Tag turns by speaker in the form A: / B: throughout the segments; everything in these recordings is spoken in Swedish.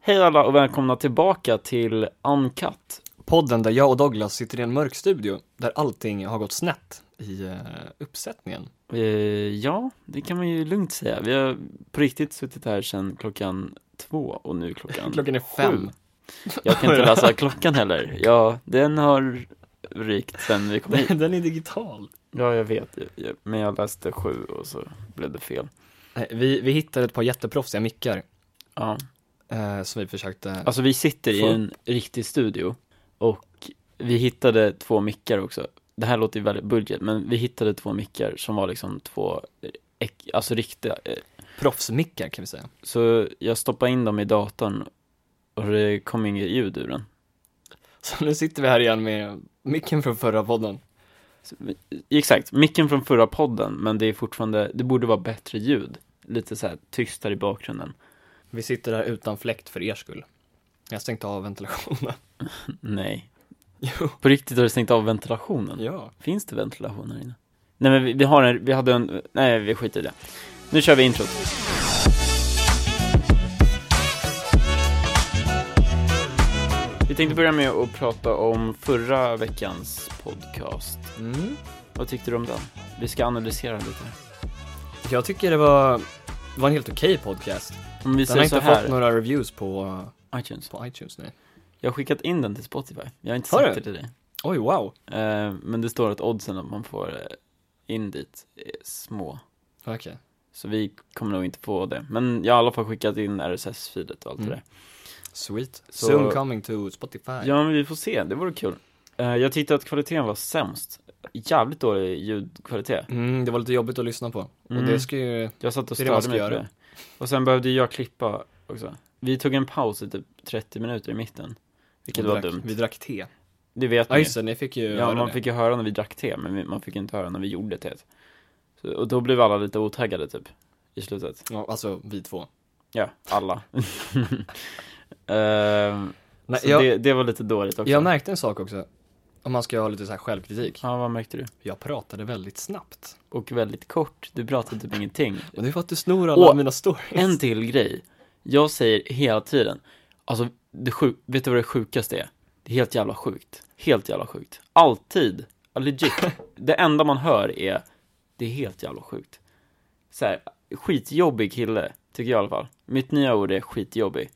A: Hej alla och välkomna tillbaka till Uncut.
B: Podden där jag och Douglas sitter i en mörk studio där allting har gått snett i eh, uppsättningen.
A: Eh, ja, det kan man ju lugnt säga. Vi har på riktigt suttit här sedan klockan två och nu klockan...
B: Klockan är fem.
A: Jag kan inte läsa klockan heller. Ja, den har rykt sedan vi kom hit.
B: Den är digital.
A: Ja, jag vet. Jag- Men jag läste sju och så blev det fel.
B: Nej, Vi, vi hittade ett par jätteproffsiga mickar
A: Ja.
B: eh, som vi försökte.
A: Alltså vi sitter i en riktig studio och vi hittade två mickar också. Det här låter ju väldigt budget, men vi hittade två mickar som var liksom två, eh, äk- alltså riktiga. eh,
B: Proffsmickar kan vi säga.
A: Så jag stoppade in dem i datorn och det kom inget ljud ur den.
B: Så nu sitter vi här igen med micken från förra podden.
A: Så, eh, exakt, micken från förra podden, men det är fortfarande, det borde vara bättre ljud. Lite så här tystare i bakgrunden.
B: Vi sitter här utan fläkt för er skull. Jag stängde av ventilationen.
A: Nej.
B: Jo.
A: På riktigt har du stängt av ventilationen?
B: Ja.
A: Finns det ventilation här inne? Nej men vi, vi har en, vi hade en, nej vi skiter i det. Nu kör vi introt. Vi tänkte börja med att prata om förra veckans podcast.
B: Mm.
A: Vad tyckte du om den? Vi ska analysera lite.
B: Jag tycker det var, det var en helt okej podcast.
A: Om vi
B: Den har
A: säger så
B: inte
A: här,
B: fått några reviews på,
A: iTunes.
B: på iTunes nej.
A: Jag har skickat in den till Spotify. Jag har inte
B: Har
A: sagt
B: du?
A: det till dig.
B: Oj wow.
A: Eh, men det står att oddsen att man får eh, in dit är små.
B: Okej.
A: Så vi kommer nog inte få det. Men jag har i alla fall skickat in RSS-filet och allt
B: Mm.
A: det där.
B: Sweet.
A: Så-
B: Soon coming to Spotify.
A: Ja, men vi får se. Det vore kul. Eh, jag tyckte att kvaliteten var sämst. Jävligt dålig ljudkvalitet.
B: Mm, det var lite jobbigt att lyssna på.
A: Mm.
B: Och det ska ju,
A: Jag satt och
B: Det är det man
A: störde mig
B: ska
A: på
B: göra.
A: det. Och sen behövde jag klippa också. Vi tog en paus i typ 30 minuter i mitten. Vilket
B: vi
A: var
B: drack,
A: dumt.
B: vi drack te.
A: Det vet
B: Ja
A: ni.
B: just det, ni fick ju
A: Ja,
B: höra
A: man
B: det.
A: fick ju höra när vi drack te, men vi- man fick inte höra när vi gjorde teet. Så, och då blev alla lite otaggade typ, i slutet.
B: Ja, alltså vi två.
A: Ja, alla. Ehm,
B: Nej,
A: så
B: jag,
A: det, det var lite dåligt också.
B: jag märkte en sak också. Om man ska ha lite så här självkritik.
A: ja, vad märkte du?
B: Jag pratade väldigt snabbt.
A: Och väldigt kort, du pratade typ ingenting.
B: Och det är för att du snor alla
A: Åh,
B: mina stories.
A: En till grej. Jag säger hela tiden, alltså, det sjuk, vet du vad det sjukaste är? Det är helt jävla sjukt. Helt jävla sjukt. Alltid. Ja, Legit. Det enda man hör är, det är helt jävla sjukt. Så här, skitjobbig kille, tycker jag i alla fall. Mitt nya ord är skitjobbig.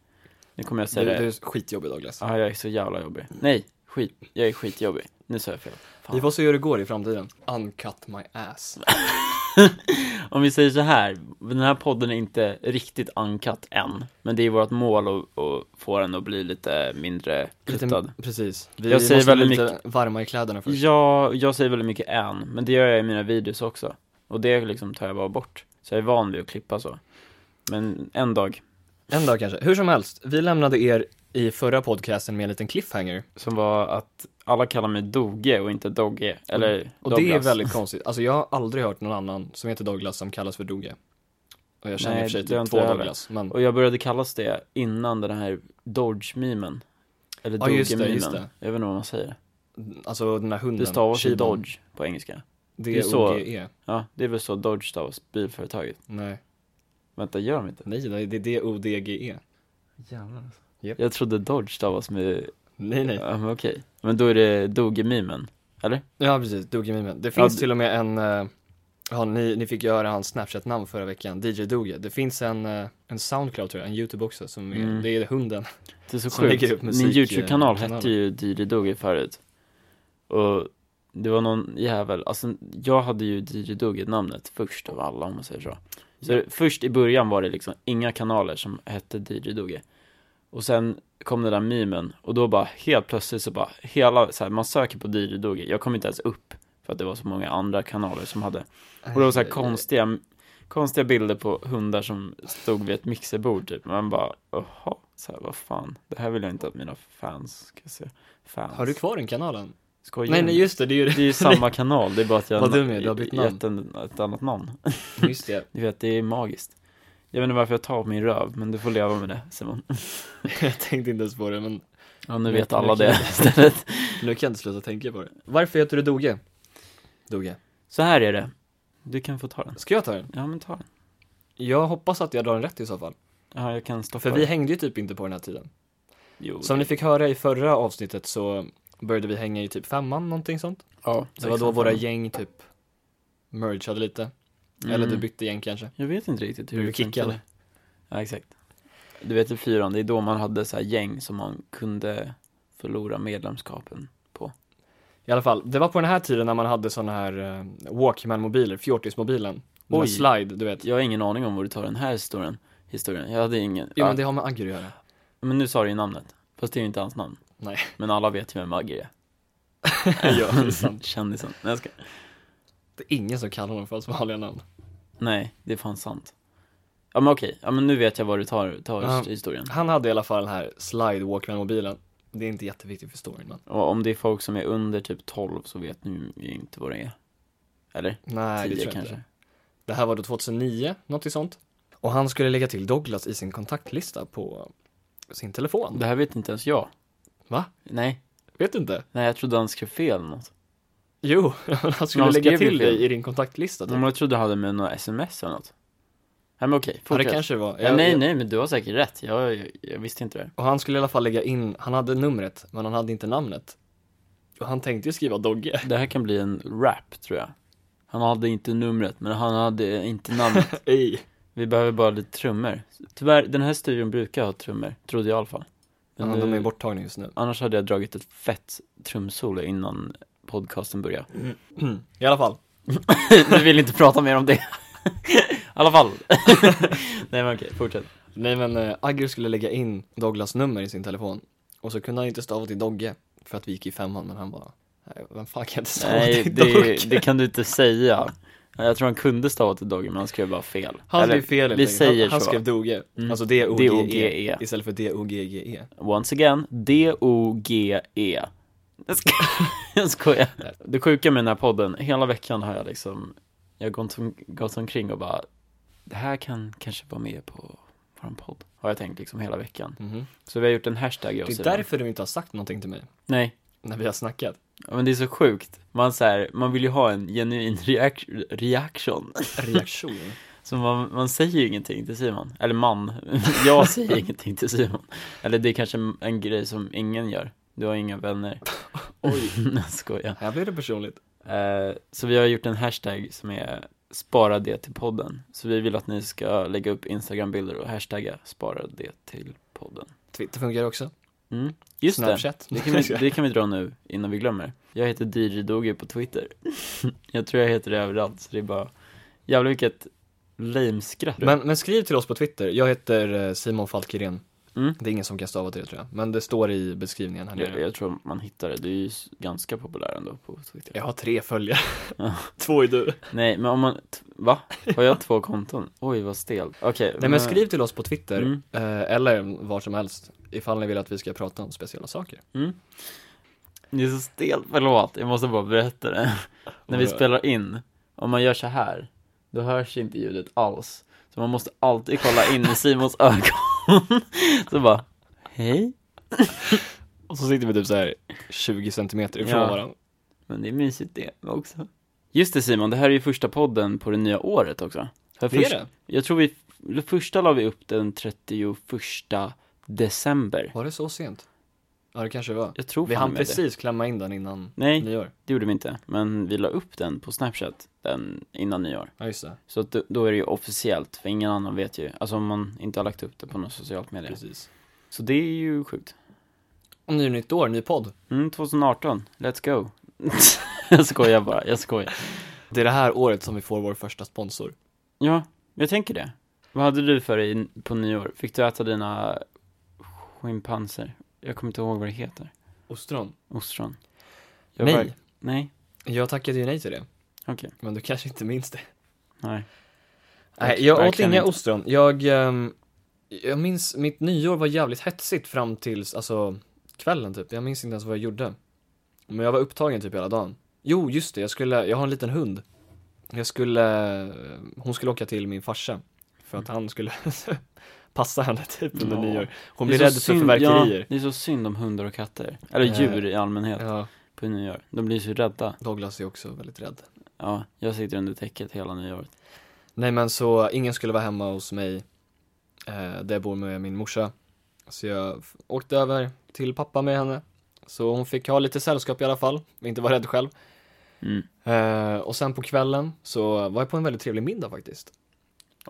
A: Nu kommer jag
B: Du,
A: säga det.
B: du är skitjobbig Douglas.
A: Ja, jag är så jävla jobbig. Nej, skit. Jag är skitjobbig. Nu sa jag fel. Fan.
B: Vi får se hur det går i framtiden. Uncut my ass.
A: Om vi säger så här, den här podden är inte riktigt uncut än, men det är vårt mål att, att få den att bli lite mindre kuttad.
B: Lite, precis. Vi
A: Jag säger
B: måste bli
A: väldigt
B: lite varma i kläderna först.
A: Ja, jag säger väldigt mycket än, men det gör jag i mina videos också. Och det liksom tar jag bara bort. Så jag är van vid att klippa så. Men en dag,
B: En dag kanske. Hur som helst, vi lämnade er i förra podcasten med en liten cliffhanger.
A: som var att alla kallar mig Doge och inte Dogge, eller
B: Mm. Och det är
A: Douglas.
B: väldigt konstigt. Alltså jag har aldrig hört någon annan som heter Douglas som kallas för Doge. Och jag känner
A: Nej,
B: i och för sig
A: det har
B: typ
A: inte
B: två
A: jag heller.
B: Douglas, men...
A: Och jag började kallas det innan den här Dodge-memen. Eller
B: Ja, just det, just
A: Dogge-memen. Jag vet inte vad man säger.
B: Alltså den där hunden.
A: Det stavas ju
B: Shiban.
A: Dodge på engelska.
B: Det
A: det är
B: är
A: så.
B: O-G-E.
A: Ja, det är väl så Dodge stavas, bilföretaget.
B: Nej.
A: Vänta, gör de inte?
B: Nej, nej, det är D-O-D-G-E.
A: Jävlar alltså.
B: Japp.
A: Jag trodde Dodge stavas med,
B: Nej, nej.
A: ja men okej. Men då är det Dogge-memen, eller?
B: Ja, precis. Doge-mimen. Det
A: Ja,
B: finns
A: d-
B: till och med en... eh, Ja, ni, ni fick göra hans Snapchat-namn förra veckan, DJ Doge. Det finns en, eh, en Soundcloud tror jag, en YouTube också, som är,
A: Mm.
B: det är hunden.
A: Det är så
B: Som lägger upp
A: sjukt.
B: musik,
A: Min YouTube-kanal
B: eh,
A: hette
B: kanaler.
A: ju DJ Dogge förut. Och det var någon jävel, alltså jag hade ju DJ Dogge namnet först av alla om man säger så. Så först i början var det liksom inga kanaler som hette DJ Dogge. Och sen kom den där memen och då bara helt plötsligt så bara hela, så här, man söker på DJ Dogge, jag kom inte ens upp för att det var så många andra kanaler som hade. Och det var så här konstiga, konstiga bilder på hundar som stod vid ett mixerbord typ. Man bara, jaha, så här, vad fan, det här vill jag inte att mina fans ska se. Fans.
B: Har du kvar den kanalen?
A: Skojar
B: Nej,
A: du?
B: nej, just det, det är ju
A: Det är ju samma kanal, det är bara att jag
B: Vad dum jag är, du har bytt namn.
A: gett en, ett annat namn.
B: Just det.
A: Du vet, det är magiskt. Jag vet inte varför jag tar på min röv, men du får leva med det Simon.
B: Jag tänkte inte ens på det, men
A: Ja, nu
B: Men-
A: vet alla
B: men-
A: det istället.
B: nu kan jag inte sluta tänka på det. Varför heter du Doge? Doge.
A: Så här är det. Du kan få ta den.
B: Ska jag ta den?
A: Ja, men ta den.
B: Jag hoppas att jag drar den rätt i så fall.
A: Ja, jag kan stoppa
B: För vi
A: det.
B: hängde ju typ inte på den här tiden.
A: Jo,
B: Som
A: det-
B: ni fick höra i förra avsnittet så började vi hänga i typ femman, någonting sånt.
A: ja,
B: Det var då
A: sexan,
B: våra
A: femman.
B: gäng typ mergeade lite.
A: Mm.
B: Eller du bytte gäng kanske.
A: Jag vet inte riktigt hur det
B: Blev vi kickade?
A: funkade. Ja, exakt. Du vet i fyran, det är då man hade så här gäng som man kunde förlora medlemskapen.
B: I alla fall, det var på den här tiden när man hade såna här eh, Walkman-mobiler, fjortismobilen. Den här
A: Oj.
B: slide, du vet.
A: Jag har ingen aning om var du tar den här historien. historien. Jag hade ingen.
B: Jo
A: ja.
B: men det har med Agger att göra.
A: men nu sa du ju namnet. Fast det är ju inte hans namn.
B: Nej.
A: Men alla vet ju vem Agger är.
B: ja, det är sant.
A: Kändisen. Nej, jag ska...
B: Det är ingen som kallar honom för hans vanliga namn.
A: Nej, det är fan sant. Ja men okej, ja men nu vet jag var du tar, tar
B: Ja.
A: historien.
B: Han hade i alla fall den här slide Walkman-mobilen. Det är inte jätteviktigt för storyn men.
A: Och om det är folk som är under typ 12 så vet ni ju inte vad det är. Eller?
B: Nej, det
A: 10
B: tror jag
A: kanske.
B: inte. Det här var då 2009, något sånt. Och han skulle lägga till Douglas i sin kontaktlista på sin telefon.
A: Det här vet inte ens jag.
B: Va?
A: Nej,
B: Vet du inte?
A: nej jag trodde han skrev fel eller något.
B: Jo, han skulle
A: han
B: lägga
A: skrev ju Mm. fel.
B: till dig i din kontaktlista typ.
A: Men jag trodde han hade med några sms eller något. Nej men okej,
B: Ja, det
A: fortsätt.
B: kanske det var.
A: ja,
B: Jag-
A: nej
B: jag-
A: nej men du har säkert rätt, jag, jag, jag visste inte det.
B: Och han skulle i alla fall lägga in, han hade numret, men han hade inte namnet. Och han tänkte ju skriva Dogge.
A: Det här kan bli en rap tror jag. Han hade inte numret, men han hade inte namnet.
B: Ej.
A: Vi behöver bara lite trummor. Tyvärr, den här studion brukar ha trummor, trodde jag i alla fall. Men
B: Men de
A: nu-
B: är borttagna just nu.
A: Annars hade jag dragit ett fett trumsolo innan podcasten började.
B: Mm. I alla fall.
A: Vi vill inte prata mer om det. I alla fall. Nej men okej, fortsätt.
B: Nej men äh, Agger skulle lägga in Douglas nummer i sin telefon. Och så kunde han inte stava till Dogge. För att vi gick i femman, men han bara, nej, vem fan kan inte stava
A: Nej,
B: till
A: det,
B: Dogge?
A: det kan du inte säga. Nej, Jag tror han kunde stava till Dogge, men han skrev bara fel.
B: Han
A: Eller,
B: skrev fel helt
A: vi
B: enkelt.
A: säger
B: han, han
A: så.
B: skrev Doge.
A: Mm.
B: Alltså D-O-G-E.
A: D-O-G-E.
B: Istället för D-O-G-G-E.
A: E. Once again, D-O-G-E. E. Jag sko- Jag skojar. Det sjuka med den här podden, hela veckan har jag liksom, jag har gått, om, gått omkring och bara, det här kan kanske vara med på våran podd. Har jag tänkt liksom hela veckan.
B: Mhm.
A: Så vi har gjort en hashtag i
B: Det
A: oss
B: är
A: idag.
B: därför du inte har sagt någonting till mig.
A: Nej,
B: När vi har snackat.
A: ja, men det är så sjukt. Man så här, man vill ju ha en genuin reac- reaction.
B: Reaktion.
A: Så man, man säger ju ingenting till Simon. Eller man, jag säger ingenting till Simon. Eller det är kanske en grej som ingen gör. Du har inga vänner.
B: Oj.
A: Jag skojar.
B: Här blev det personligt.
A: Eh, så vi har gjort en hashtag som är spara det till podden. Så vi vill att ni ska lägga upp Instagram-bilder och hashtagga spara det till podden.
B: Twitter funkar också.
A: Mm. Just det,
B: Snapchat.
A: det kan, vi, det kan vi dra nu innan vi glömmer. Jag heter DJ Doge på Twitter. jag tror jag heter det överallt, så det är bara jävlar vilket lame-skratt.
B: men, men skriv till oss på Twitter. Jag heter eh, Simon Falkgren.
A: Mm.
B: Det är ingen som kan stava till det tror jag. Men det står i beskrivningen här
A: jag,
B: nere.
A: jag tror man hittar det, du är ju s- ganska populär ändå på Twitter.
B: Jag har tre följare.
A: Ja.
B: Två är du.
A: Nej, men om man, t- va? Har jag två konton? Oj, vad stel. Okej.
B: Nej men skriv till oss på Twitter.
A: Mm.
B: eh, Eller var som helst. Ifall ni vill att vi ska prata om speciella saker.
A: Mm. Det är så stelt, förlåt, jag måste bara berätta det. När vi
B: Vadå?
A: spelar in, om man gör så här, då hörs inte ljudet alls. Så man måste alltid kolla in i Simons ögon. Så bara, hej?
B: Och så sitter vi typ så här 20 centimeter ifrån
A: Ja.
B: varandra.
A: Men det är mysigt det också. Just det Simon, det här är ju första podden på det nya året också. För
B: Det är det.
A: Jag tror vi, första la vi upp den 31 december.
B: Var det så sent? Ja det kanske det var.
A: Jag tror
B: Vi
A: fan
B: hann
A: med det.
B: precis klämma in den innan
A: Nej,
B: nyår.
A: det gjorde vi inte. Men vi la upp den på Snapchat den innan nyår.
B: Ja just det.
A: Så att då, då är det ju officiellt, för ingen annan vet ju. Alltså om man inte har lagt upp det på något socialt medie.
B: Precis.
A: Så det är ju sjukt.
B: Och nu är det nytt år, ny podd.
A: Mm, 2018, let's go. jag skojar bara, jag skojar.
B: Det är det här året som vi får vår första sponsor.
A: Ja, jag tänker det. Vad hade du för dig på nyår? Fick du äta dina schimpanser? Jag kommer inte ihåg vad det heter.
B: Ostron.
A: Ostron. Jag
B: Nej.
A: var- Nej,
B: Jag tackade ju nej till det.
A: okej.
B: Men du kanske inte minns det.
A: Nej.
B: Nej, jag åt
A: Verkligen
B: inga
A: inte.
B: ostron. Jag, ehm, jag minns, mitt nyår var jävligt hetsigt fram tills, alltså kvällen typ. Jag minns inte ens vad jag gjorde. Men jag var upptagen typ hela dagen. Jo, just det, jag skulle, jag har en liten hund. Jag skulle, eh, hon skulle åka till min farsa. För att han skulle passa henne typ under
A: Ja.
B: nyår. Hon
A: Det är
B: blir
A: så
B: rädd för
A: synd-
B: fyrverkerier.
A: Ja, det är så synd om hundar och katter. Eller
B: Eh,
A: djur i allmänhet
B: Ja,
A: på nyår. De blir så rädda.
B: Douglas är också väldigt rädd.
A: Ja, jag sitter under täcket hela nyåret.
B: Nej men så, ingen skulle vara hemma hos mig eh, där jag bor med min morsa. Så jag f- åkte över till pappa med henne. Så hon fick ha lite sällskap i alla fall, och inte vara rädd själv.
A: Mm.
B: Eh, och sen på kvällen så var jag på en väldigt trevlig middag faktiskt.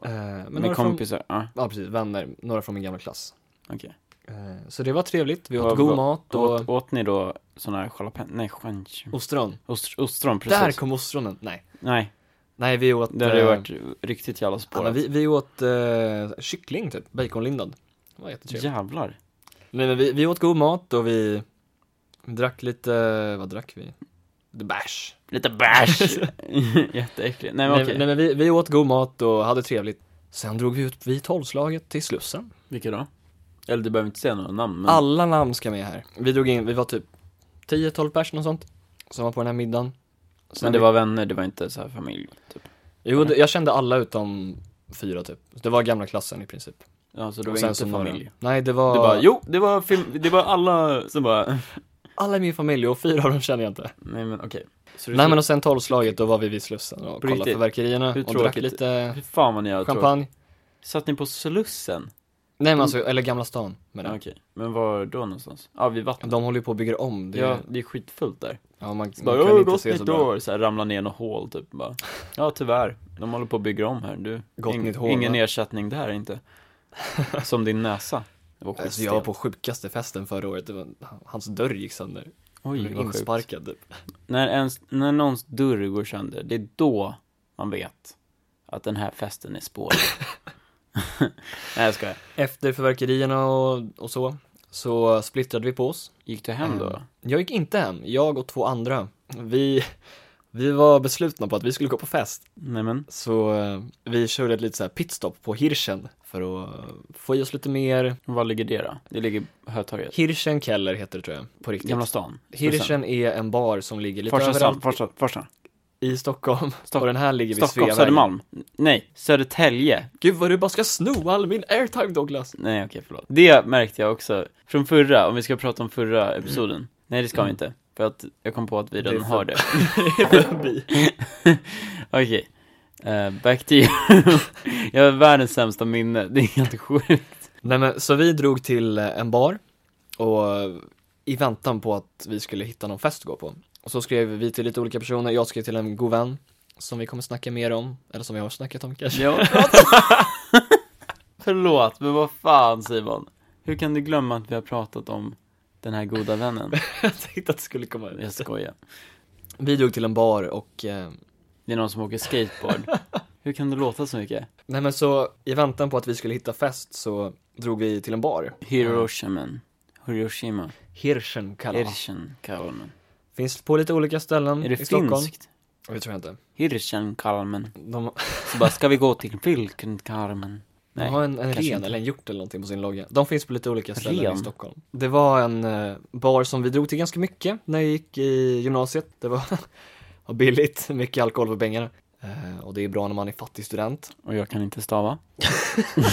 B: Eh, men några
A: Med kompisar? Ja,
B: Från, ja, precis, vänner, några från min gamla klass.
A: okej.
B: Eh, så det var trevligt, vi åt
A: Vad-
B: god
A: vad-
B: mat och
A: Åt, åt ni då såna här jalapeno, nej chancho,
B: ostron.
A: ost, ostron precis?
B: Där kom ostronen, nej.
A: Nej,
B: Nej, vi åt...
A: det hade ju
B: eh,
A: varit riktigt jävla
B: Anna,
A: spårat.
B: vi, vi åt eh, kyckling typ, baconlindad. Det var jättetrevligt.
A: Jävlar.
B: Nej men vi, vi åt god mat och vi drack lite, vad drack vi? The bash.
A: Lite bärs! Jätteäckligt. Nej men
B: Nej,
A: okej.
B: nej men vi, vi åt god mat och hade trevligt. Sen drog vi ut vid tolvslaget till Slussen.
A: Vilka då? Eller du behöver inte säga några namn men...
B: Alla namn ska med här. Vi drog in, vi var typ 10-12 personer och sånt. Som var på den här middagen. Sen
A: men det
B: vi-
A: var vänner, det var inte så här familj typ.
B: Jo, det- jag kände alla utom fyra typ. Det var gamla klassen i princip.
A: Ja så det
B: Och
A: var
B: sen
A: inte
B: så några-
A: familj.
B: Nej, det var...
A: Du bara, jo det var film, det var alla som bara,
B: Alla i min familj och fyra av dem känner jag inte.
A: nej men okej. Så du-
B: Nej men och sen tolvslaget, då var vi vid Slussen och
A: På
B: kollade
A: riktigt?
B: fyrverkerierna
A: Hur
B: och drack
A: tråkigt.
B: lite
A: Fy fan vad ni har tråkigt.
B: champagne.
A: Satt ni på Slussen?
B: Nej men alltså, eller Gamla stan men
A: Mm. Ja, Okej, men var då någonstans? Ja, vid vattnet.
B: De håller ju på att bygga om, det,
A: Ja, det är skitfullt där.
B: ja, man,
A: Så
B: man
A: bara,
B: kan
A: åh,
B: inte
A: gott
B: se så
A: nytt
B: bra.
A: år, så här, ramlar ner i något hål typ bara. Ja, tyvärr. De håller på att bygga om här. Du,
B: Gott nytt hål,
A: ingen
B: va?
A: ersättning där inte. Som din näsa. Det var
B: Alltså
A: skitstelt.
B: jag var på sjukaste festen förra året, det var, hans dörr gick sönder. Jag
A: Oj,
B: blev
A: vad sjukt.
B: insparkad typ.
A: När, ens, när någons dörr går sönder, det är då man vet att den här festen är spårig. Nej, jag skojar.
B: Efter fyrverkerierna och, och så, så splittrade vi på oss.
A: Gick du hem då?
B: Eh, Jag gick inte hem, jag och två andra. Vi, vi var beslutna på att vi skulle gå på fest.
A: Nej men,
B: Så eh, vi körde ett litet så här pitstop på Hirschen för att eh, få i oss lite mer.
A: var ligger det då? Det ligger på Hötorget.
B: Hirschen Keller heter det tror jag, på riktigt.
A: Gamla stan.
B: Hirschen är en bar som ligger lite
A: Farsta
B: överallt
A: stan, Farsta, Farsta.
B: i Stockholm. Och den här ligger vid
A: Stockholm,
B: Sveavägen.
A: Södermalm. Nej, Södertälje.
B: Gud vad du bara ska sno all min airtime Douglas.
A: Nej, okej, förlåt. Det märkte jag också från förra, om vi ska prata om förra episoden. Nej, det ska vi inte. För att jag kom på att vi
B: Mm. Det är
A: redan
B: för-
A: har det.
B: Förbi.
A: Okej. Eh, back to you. jag har världens sämsta minne, det är helt sjukt.
B: Nej men så vi drog till eh, en bar och eh, i väntan på att vi skulle hitta någon fest att gå på. Och så skrev vi till lite olika personer, jag skrev till en god vän som vi kommer snacka mer om, eller som vi har snackat om kanske.
A: Ja, förlåt, men vad fan Simon. Hur kan du glömma att vi har pratat om den här goda vännen?
B: Jag tänkte att det skulle komma
A: Jag skojar.
B: Vi drog till en bar och eh,
A: Det är någon som åker skateboard. Hur kan du låta så mycket?
B: Nej men så i väntan på att vi skulle hitta fest så drog vi till en bar.
A: Hiroshima. Hiroshima.
B: Hirschen kallar det.
A: Hirschen kallar man.
B: Finns på lite olika ställen
A: Är
B: i
A: det
B: Stockholm.
A: finskt?
B: Det tror jag inte.
A: Hirschenkalmen.
B: De,
A: Så bara, ska vi gå till Vilkenkarmen?
B: de
A: Nej.
B: har en, en
A: kanske
B: ren
A: inte.
B: eller en hjort eller någonting på sin logga. De finns på lite olika ställen
A: Ren?
B: i Stockholm. Det var en eh, bar som vi drog till ganska mycket när jag gick i gymnasiet. Det var var billigt, mycket alkohol för pengarna. Eh, och det är bra när man är fattig student.
A: Och jag kan inte stava.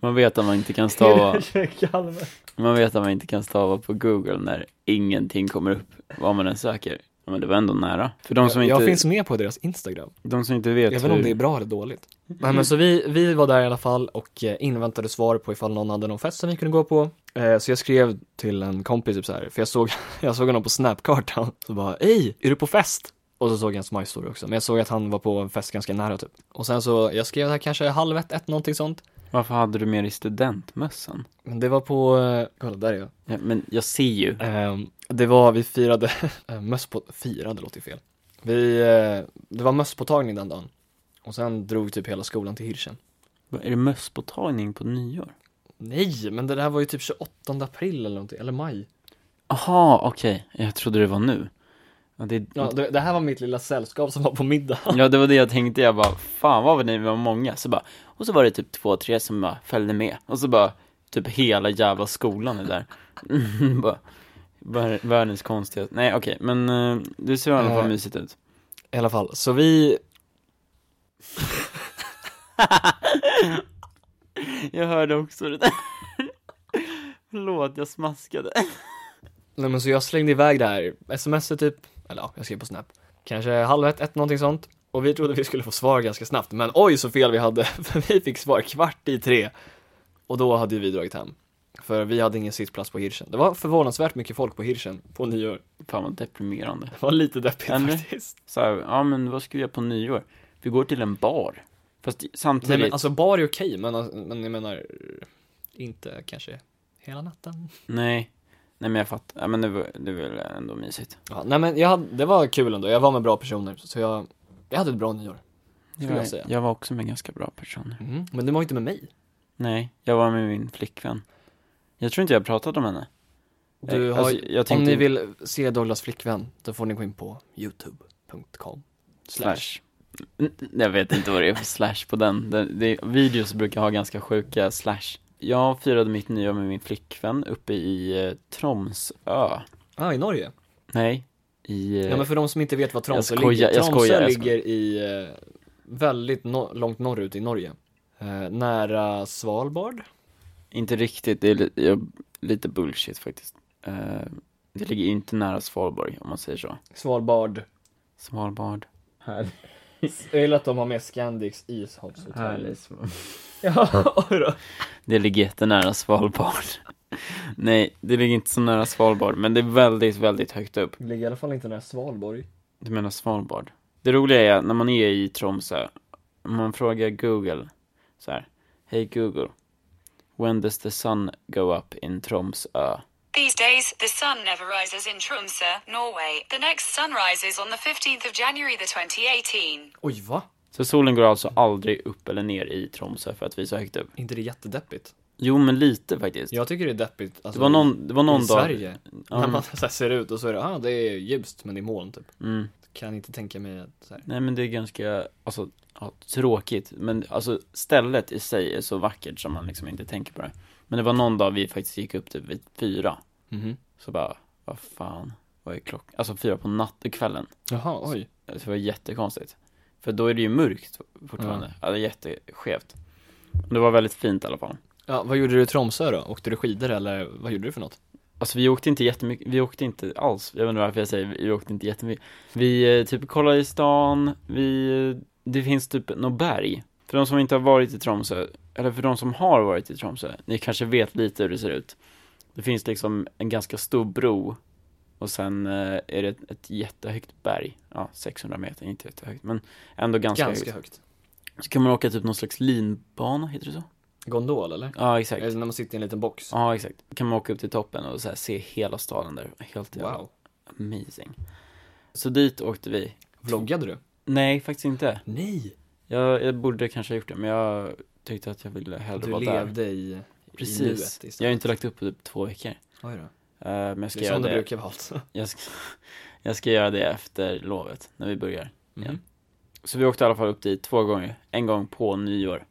A: man vet att man inte kan stava.
B: Kalmen.
A: Man vet att man inte kan stava på Google när ingenting kommer upp vad man än söker. Ja, Men det var ändå nära. För de som
B: Jag, jag
A: inte,
B: finns med på deras Instagram.
A: de som inte vet
B: Även
A: hur...
B: om det är bra eller dåligt. Nej men så vi, vi var där i alla fall och eh, inväntade svar på ifall någon hade någon fest som vi kunde gå på. Eh, Så jag skrev till en kompis typ så här, för jag såg, jag såg honom på snapkartan. Så bara, ej, är du på fest? Och så såg jag hans My Story också, men jag såg att han var på en fest ganska nära typ. Och sen så, jag skrev här kanske halv ett, ett någonting sånt.
A: Varför hade du med dig studentmössan?
B: Men det var på, eh, kolla där är jag.
A: Ja, men jag ser ju.
B: Ehm, Det var, vi firade, eh, mösspå, firade låter ju fel. Vi, eh, det var mösspåtagning den dagen. Och sen drog typ hela skolan till Hirschen.
A: Vad, Är det mösspåtagning på nyår?
B: Nej, men det här var ju typ 28 april eller någonting, eller maj.
A: Aha, okej. Jag trodde det var nu. Ja, det,
B: Ja, det, det här var mitt lilla sällskap som var på middag.
A: Ja, det var det jag tänkte. Jag bara, fan vad ni var många. Så bara, och så var det typ två, tre som bara följde med. Och så bara, typ hela jävla skolan är där. bara, vär- världens konstigaste. Nej, okej, men eh, det ser i alla fall
B: Eh.
A: mysigt ut.
B: I alla fall, så vi,
A: Jag hörde också det där. Förlåt, jag smaskade.
B: nej men så jag slängde iväg det här smset typ, eller ja, jag skrev på snap. Kanske halv ett, ett någonting sånt. Och vi trodde vi skulle få svar ganska snabbt, men oj så fel vi hade, för vi fick svar kvart i tre. Och då hade ju vi dragit hem. För vi hade ingen sittplats på Hirschen. Det var förvånansvärt mycket folk på Hirschen på nyår.
A: Fan vad deprimerande.
B: Det var lite deppigt
A: Eller?
B: faktiskt.
A: Så här, ja men vad ska vi göra på nyår? Vi går till en bar. Fast
B: Nej
A: samtidigt,
B: men alltså bar är okej, men, alltså- men jag menar inte kanske hela natten.
A: nej. Nej men jag fattar, ja, men det var, det var väl ändå mysigt.
B: Ja, nej men jag hade, det var kul ändå, jag var med bra personer, så jag, jag hade ett bra nyår. Skulle jag säga.
A: jag var också med ganska bra personer.
B: Mm. Men det var inte med mig.
A: Nej, jag var med min flickvän. Jag tror inte jag pratade om henne.
B: Du
A: Eh,
B: har,
A: alltså, jag
B: om
A: tänkte-
B: ni vill se Douglas flickvän, då får ni gå in på youtube.com
A: Slash. Mm, Jag vet inte vad det är för slash på den. den det, videos brukar ha ganska sjuka slash. Jag firade mitt nyår med min flickvän uppe i eh, Tromsö.
B: Ah, i Norge?
A: Nej, i... eh,
B: Ja men för de som inte vet var Tromsö
A: Jag skojar,
B: ligger,
A: jag
B: Tromsö
A: skojar, jag
B: ligger i, eh, väldigt no- långt norrut i Norge. Eh, nära Svalbard?
A: Inte riktigt, det är li- jag, lite bullshit faktiskt. Eh, det ligger inte nära Svalbard om man säger så.
B: Svalbard.
A: Svalbard. Här.
B: Jag gillar att de har med Scandics ishavshotell. Ja, oj då.
A: Det ligger jättenära Svalbard. Nej, det ligger inte så nära Svalbard, men det är väldigt, väldigt högt upp.
B: Det ligger i alla fall inte nära Svalborg.
A: Du menar Svalbard? Det roliga är när man är i Tromsö, om man frågar Google så här, Hej Google, when does the sun go up in Tromsö?
C: These days, the sun never rises in Tromsø, Norway. The next sun rises on the 15th of January the 2018.
B: Oj, va?
A: Så solen går alltså aldrig upp eller ner i Tromsö för att vi är så högt upp?
B: inte det jättedeppigt?
A: Jo, men lite faktiskt.
B: Jag tycker det är deppigt. Alltså,
A: Det var någon, det var någon
B: i
A: dag...
B: Sverige.
A: Ja,
B: När
A: men-
B: man så här ser ut och så är det, ah, det är ljust men det är moln typ.
A: Mm.
B: Kan inte tänka mig att så här.
A: Nej men det är ganska, alltså, ja, tråkigt. Men alltså stället i sig är så vackert som man liksom inte tänker på det. Men det var någon dag vi faktiskt gick upp typ vid fyra.
B: Mhm.
A: Så bara, vad fan, vad är klockan? Alltså fyra på nattkvällen.
B: Jaha, oj.
A: Det var jättekonstigt. För då är det ju mörkt fortfarande. Ja, det är jätteskevt. Men Det var väldigt fint i alla fall.
B: Ja, vad gjorde du i Tromsö då? Åkte du skidor eller vad gjorde du för något?
A: Alltså vi åkte inte jättemycket, vi åkte inte alls, jag vet inte varför jag säger vi åkte inte jättemycket Vi eh, typ kollade i stan, vi, eh, det finns typ något berg För de som inte har varit i Tromsö, eller för de som har varit i Tromsö, ni kanske vet lite hur det ser ut Det finns liksom en ganska stor bro och sen eh, är det ett, ett jättehögt berg, ja 600 meter, inte jättehögt men ändå ganska, högt.
B: högt.
A: Så kan man åka typ någon slags linbana, heter det så?
B: Gondol eller?
A: Ja exakt,
B: Eller när man sitter i en liten box.
A: ja exakt, kan man åka upp till toppen och så här se hela staden där, helt jävla
B: Wow.
A: Amazing. Så dit åkte vi.
B: Vloggade du?
A: Nej, faktiskt inte.
B: Nej.
A: Jag, jag borde kanske ha gjort det, men jag tyckte att jag ville hellre
B: Du
A: vara där.
B: levde i, i nuet
A: Precis.
B: istället.
A: Jag har inte lagt upp på typ två veckor.
B: Oj då.
A: Eh, men jag ska,
B: Det är
A: göra
B: som det
A: det.
B: brukar vara alltså.
A: Jag, ska, jag ska göra det efter lovet, när vi börjar.
B: Mm.
A: Så vi åkte i alla fall upp dit två gånger. En gång på nyår.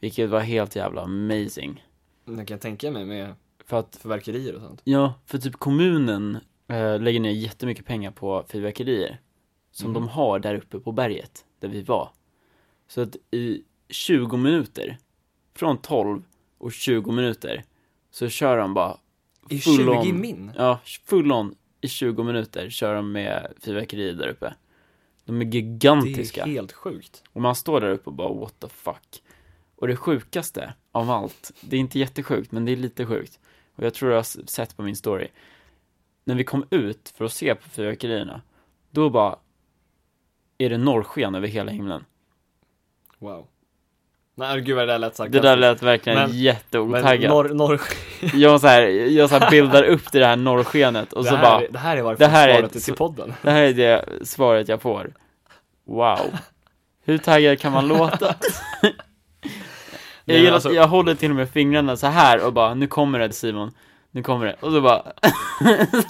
A: Vilket var helt jävla amazing.
B: Jag Mm, kan tänka mig med
A: För att,
B: förverkerier och sånt.
A: ja, för typ kommunen eh, lägger ner jättemycket pengar på fyrverkerier. som de har där uppe på berget, där vi var. Så att i 20 minuter, från 12 och 20 minuter, så kör de bara
B: I
A: full
B: 20
A: on-
B: min?
A: Ja, full on i 20 minuter kör de med fyrverkerier där uppe. De är
B: Det
A: gigantiska.
B: är helt sjukt.
A: Och man står där uppe och bara what the fuck. Och det sjukaste av allt, det är inte jättesjukt men det är lite sjukt. Och jag tror jag har s- sett på min story. När vi kom ut för att se på fyrverkerierna, då bara är det norrsken över hela himlen.
B: Wow. Nej gud vad det där lät
A: Det
B: sarkastiskt.
A: där lät verkligen
B: Men-
A: jätteotaggat.
B: norr, norr,
A: Jag, så här, jag så här bildar upp det här norrskenet och
B: det,
A: så
B: här,
A: bara,
B: det här är varför
A: det här är
B: svaret är
A: ett-
B: till podden.
A: det här är det svaret jag får. Wow. Hur taggad kan man låta? Jag,
B: Nej,
A: gillar,
B: alltså,
A: att jag håller till och med fingrarna så här och bara, nu kommer det Simon, nu kommer det. Och så bara,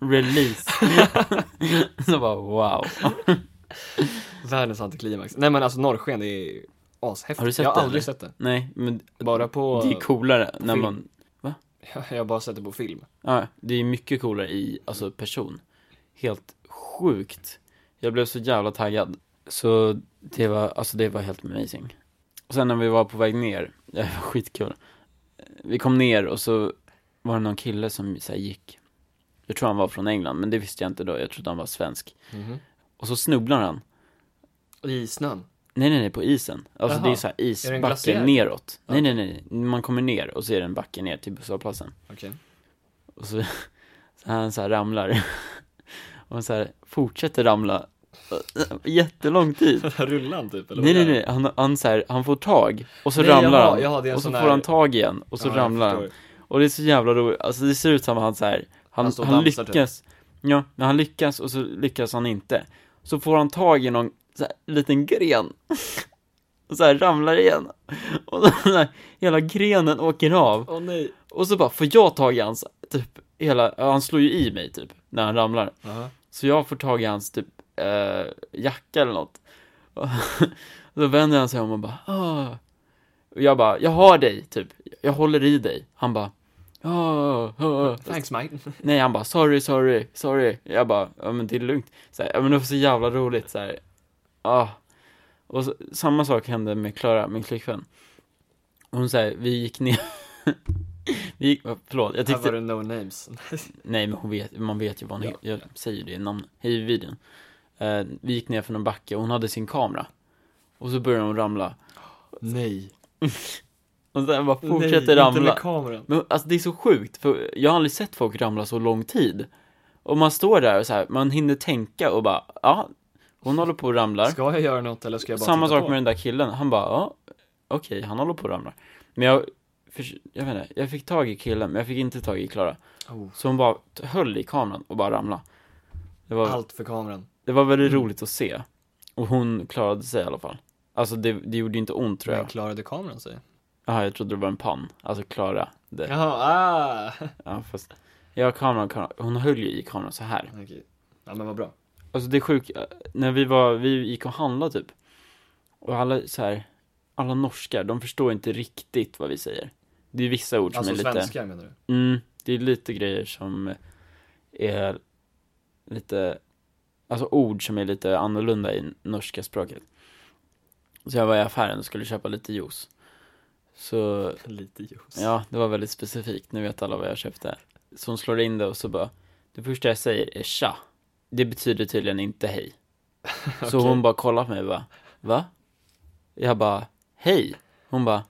A: release. så bara, wow.
B: Världens antiklimax. Nej men alltså norrsken det är ashäftigt.
A: Har du sett
B: jag har
A: det,
B: aldrig
A: eller?
B: sett det.
A: Nej, men
B: Bara på...
A: det är coolare när
B: film.
A: man,
B: Jag har bara sett det på film.
A: ja, det är mycket coolare i, alltså person. Helt sjukt. Jag blev så jävla taggad. Så det var, alltså det var helt amazing. Och sen när vi var på väg ner, det var skitkul. Vi kom ner och så var det någon kille som så här, gick. Jag Mhm. tror han var från England, men det visste jag inte då. Jag trodde han var svensk. Och så snubblar han.
B: I snön?
A: Nej nej nej, på isen. Alltså
B: Jaha.
A: det är så här
B: Är det en
A: isbacke
B: glaciär?
A: neråt.
B: Ja.
A: Nej nej nej, man kommer ner och så är det en backe ner till busshållplatsen.
B: Okej.
A: Och så, så han så här ramlar. Och han så här fortsätter ramla. Jättelång tid.
B: Rullar han typ eller?
A: Nej
B: vad
A: nej
B: gör
A: nej, han, han så här, han får tag och så
B: Nej,
A: ramlar
B: jaha,
A: han.
B: jaha, det är en
A: och så
B: sån
A: får
B: här-
A: han tag igen och så
B: Ja, jag
A: ramlar han.
B: förstår.
A: Och det är så jävla roligt, alltså det ser ut som han så här, han,
B: Han står och
A: han
B: dansar, typ.
A: lyckas, ja, men han lyckas och så lyckas han inte. Så får han tag i någon så här, liten gren. och så här ramlar igen. Och den här, hela grenen åker av.
B: Åh nej.
A: Och så bara får jag tag i hans, typ, hela, ja, han slår ju i mig typ, när han ramlar.
B: Jaha.
A: Så jag får tag i hans typ eh, jacka eller något. Och då vänder han sig om och bara Åh. Och jag bara, jag har dig, typ. Jag håller i dig. Han bara "Ah." Åh, åh.
B: Thanks mate.
A: Nej, han bara sorry, sorry, sorry. Jag bara, ja men det är lugnt. Så här, ja men det var så jävla roligt så här. Ah. Och så, samma sak hände med Klara, min flickvän. Hon säger, vi gick ner. vi gick, oh, förlåt, jag
B: Här
A: tyckte
B: var det no names.
A: Nej men hon vet, man vet ju vad hon
B: Ja.
A: jag säger ju det i namn, i videon eh, Vi gick ner för någon backe och hon hade sin kamera Och så började hon ramla
B: nej.
A: Och sen bara
B: nej,
A: fortsätter
B: Inte med
A: ramla
B: kameran.
A: Men alltså det är så sjukt, för jag har aldrig sett folk ramla så lång tid Och man står där och så här, man hinner tänka och bara, ja Hon håller på och ramlar
B: Ska jag göra något eller ska jag bara
A: Samma
B: titta
A: sak
B: på?
A: med den där killen, han bara, ja Okej, han håller på och ramlar Men jag, förs- jag vet inte, jag fick tag i killen men jag fick inte tag i Klara
B: Oh.
A: Så hon bara t- höll i kameran och bara ramla Det var
B: Allt Mm. för kameran.
A: Det var väldigt roligt att se. Och hon klarade sig i alla fall. Alltså det, det gjorde ju inte ont tror
B: Men
A: jag.
B: klarade kameran sig?
A: Jaha, jag trodde det var en pann. Alltså klara det. Ja,
B: Jaha, ah!
A: fast. Ja, kameran, kameran. Hon höll ju i kameran så här.
B: Okej. Ja men vad bra.
A: Alltså det är sjukt. När vi var, vi gick och handlade typ. Och alla så här, alla norskar, de förstår inte riktigt vad vi säger. Det är vissa ord som
B: Alltså
A: är lite.
B: svenskar menar du?
A: Mm, det är lite grejer som är lite, alltså ord som är lite annorlunda i norska språket. Så jag var i affären och skulle köpa lite juice. Så,
B: Lite juice.
A: ja, det var väldigt specifikt, nu vet alla vad jag köpte. Så hon slår in det och så bara, det första jag säger är tja. Det betyder tydligen inte hej. Så
B: Okej.
A: hon bara kollar på mig och bara, va? Jag bara, hej. Hon bara,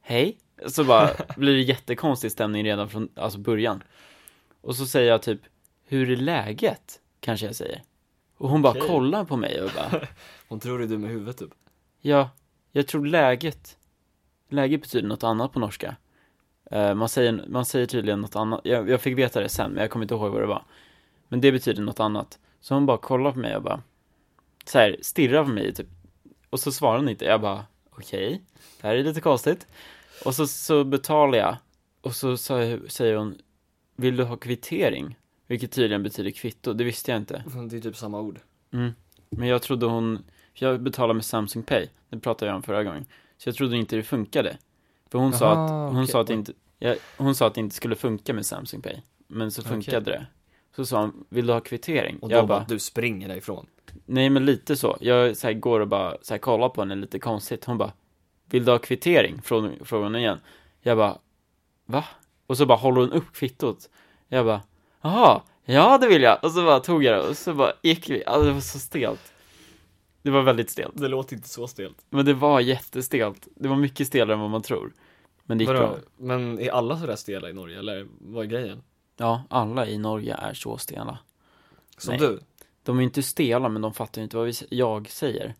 A: hej. Så bara blir det jättekonstig stämning redan från alltså början. Och så säger jag typ, hur är läget? Kanske jag säger. Och hon bara
B: Okej.
A: kollar på mig och bara,
B: Hon tror det är du med huvudet typ.
A: ja, jag tror läget. Läget betyder något annat på norska. Eh, man, säger, man säger tydligen något annat, jag, jag fick veta det sen men jag kommer inte ihåg vad det var. Men det betyder något annat. Så hon bara kollar på mig och bara, så här, stirrar på mig typ. Och så svarar hon inte, jag bara, okej, det här är lite konstigt. Och så, så betalar jag. Och så, sa- säger hon, vill du ha kvittering? Vilket tydligen betyder kvitto, det visste jag inte.
B: Det är typ samma ord.
A: Men jag trodde hon, för jag betalade med Samsung Pay, det pratade jag om förra gången. Så jag trodde inte det funkade. För hon sa
B: Aha,
A: att, hon
B: okej.
A: sa att det inte, jag, hon sa att det inte skulle funka med Samsung Pay. Men så funkade det. Så sa hon, vill du ha kvittering?
B: Och då
A: jag
B: bara,
A: bara,
B: du springer därifrån.
A: nej men lite så. Jag så här, går och bara så här, kollar på henne lite konstigt. Hon bara, vill du ha kvittering? Frå- Frågar hon igen. Jag bara, va? Och så bara håller hon upp kvittot. Jag bara, jaha, ja det vill jag. Och så bara tog jag det och så bara gick vi. Alltså det var så stelt. Det var väldigt stelt.
B: Det låter inte så stelt.
A: Men det var jättestelt. Det var mycket stelare än vad man tror. Men det gick bra.
B: Vadå? Men är alla sådär stela i Norge eller vad är grejen?
A: Ja, alla i Norge är så stela.
B: Som
A: Nej.
B: du?
A: De är inte stela, men de fattar ju inte vad vi, s- jag säger.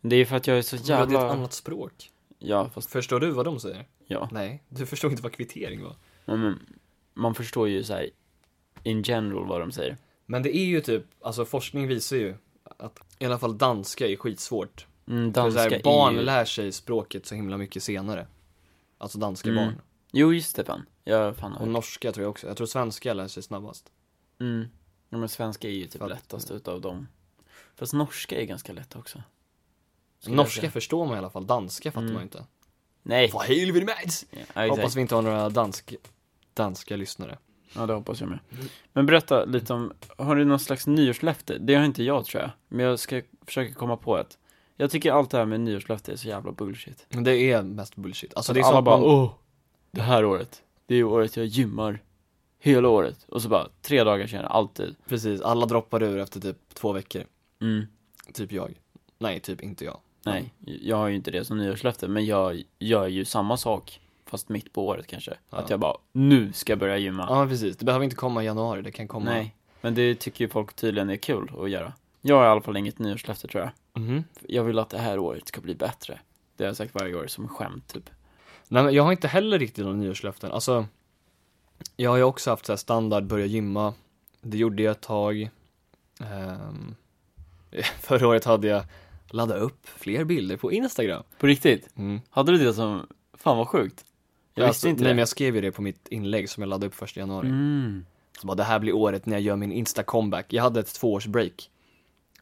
A: Det är för att jag är så
B: Jävlar. Det är ett
A: jävla...
B: annat språk.
A: Ja, fast
B: Förstår du vad de säger?
A: ja.
B: Nej, du förstår inte vad kvittering var.
A: Men, men, man förstår ju så här in general vad de säger.
B: Men det är ju typ, alltså forskning visar ju att i alla fall danska är skitsvårt.
A: Mm,
B: För så
A: danska
B: här, barn
A: är ju...
B: lär sig språket så himla mycket senare. Alltså danska
A: Mm.
B: barn.
A: Jo, just det fan. Jag fan
B: Och norska tror jag också. Jag tror svenska lär sig snabbast.
A: Mm. Ja, men svenska är ju typ
B: Fatt-
A: lättast utav dem. Fast norska är ganska lätt också. Skulle jag
B: Norska
A: säga.
B: förstår man i alla fall, danska fattar
A: Mm.
B: man ju inte.
A: Nej.
B: Vad helvete
A: Ja, exakt.
B: Hoppas vi inte har några dansk, danska lyssnare.
A: Ja, det hoppas jag med.
B: Mm.
A: Men berätta lite om, har du någon slags nyårslöfte? Det har inte jag tror jag, men jag ska försöka komma på ett. Jag tycker allt det här med nyårslöfte är så jävla bullshit.
B: Men det är mest bullshit. Alltså
A: Så
B: det är
A: alla
B: sånt
A: bara,
B: man...
A: åh, det här året, det är året jag gymmar hela året. Och så bara, tre oh. dagar senare, alltid.
B: Precis, alla droppar ur efter typ två veckor.
A: Mm.
B: Typ jag. Nej, typ inte jag.
A: Nej, jag har ju inte det som nyårslöfte, men jag gör ju samma sak, fast mitt på året kanske.
B: Ja.
A: Att jag bara, nu ska jag börja gymma.
B: Ja, men precis. Det behöver inte komma i januari, det kan komma...
A: Ah. Nej, men det tycker ju folk tydligen är kul att göra. Jag har i alla fall inget nyårslöfte tror jag.
B: Mhm.
A: Jag vill att det här året ska bli bättre. Det har jag sagt varje år som skämt typ.
B: Nej, men jag har inte heller riktigt några nyårslöften. Alltså, jag har ju också haft så här standard, börja gymma. Det gjorde jag ett tag. Ehm, förra året hade jag ladda upp fler bilder på Instagram.
A: På riktigt?
B: Mm.
A: Hade du det som, fan vad sjukt. Jag visste inte
B: nej,
A: det.
B: men jag skrev ju det på mitt inlägg som jag laddade upp första januari.
A: Mm.
B: Så bara, det här blir året när jag gör min Insta-comeback. Jag hade ett tvåårsbreak.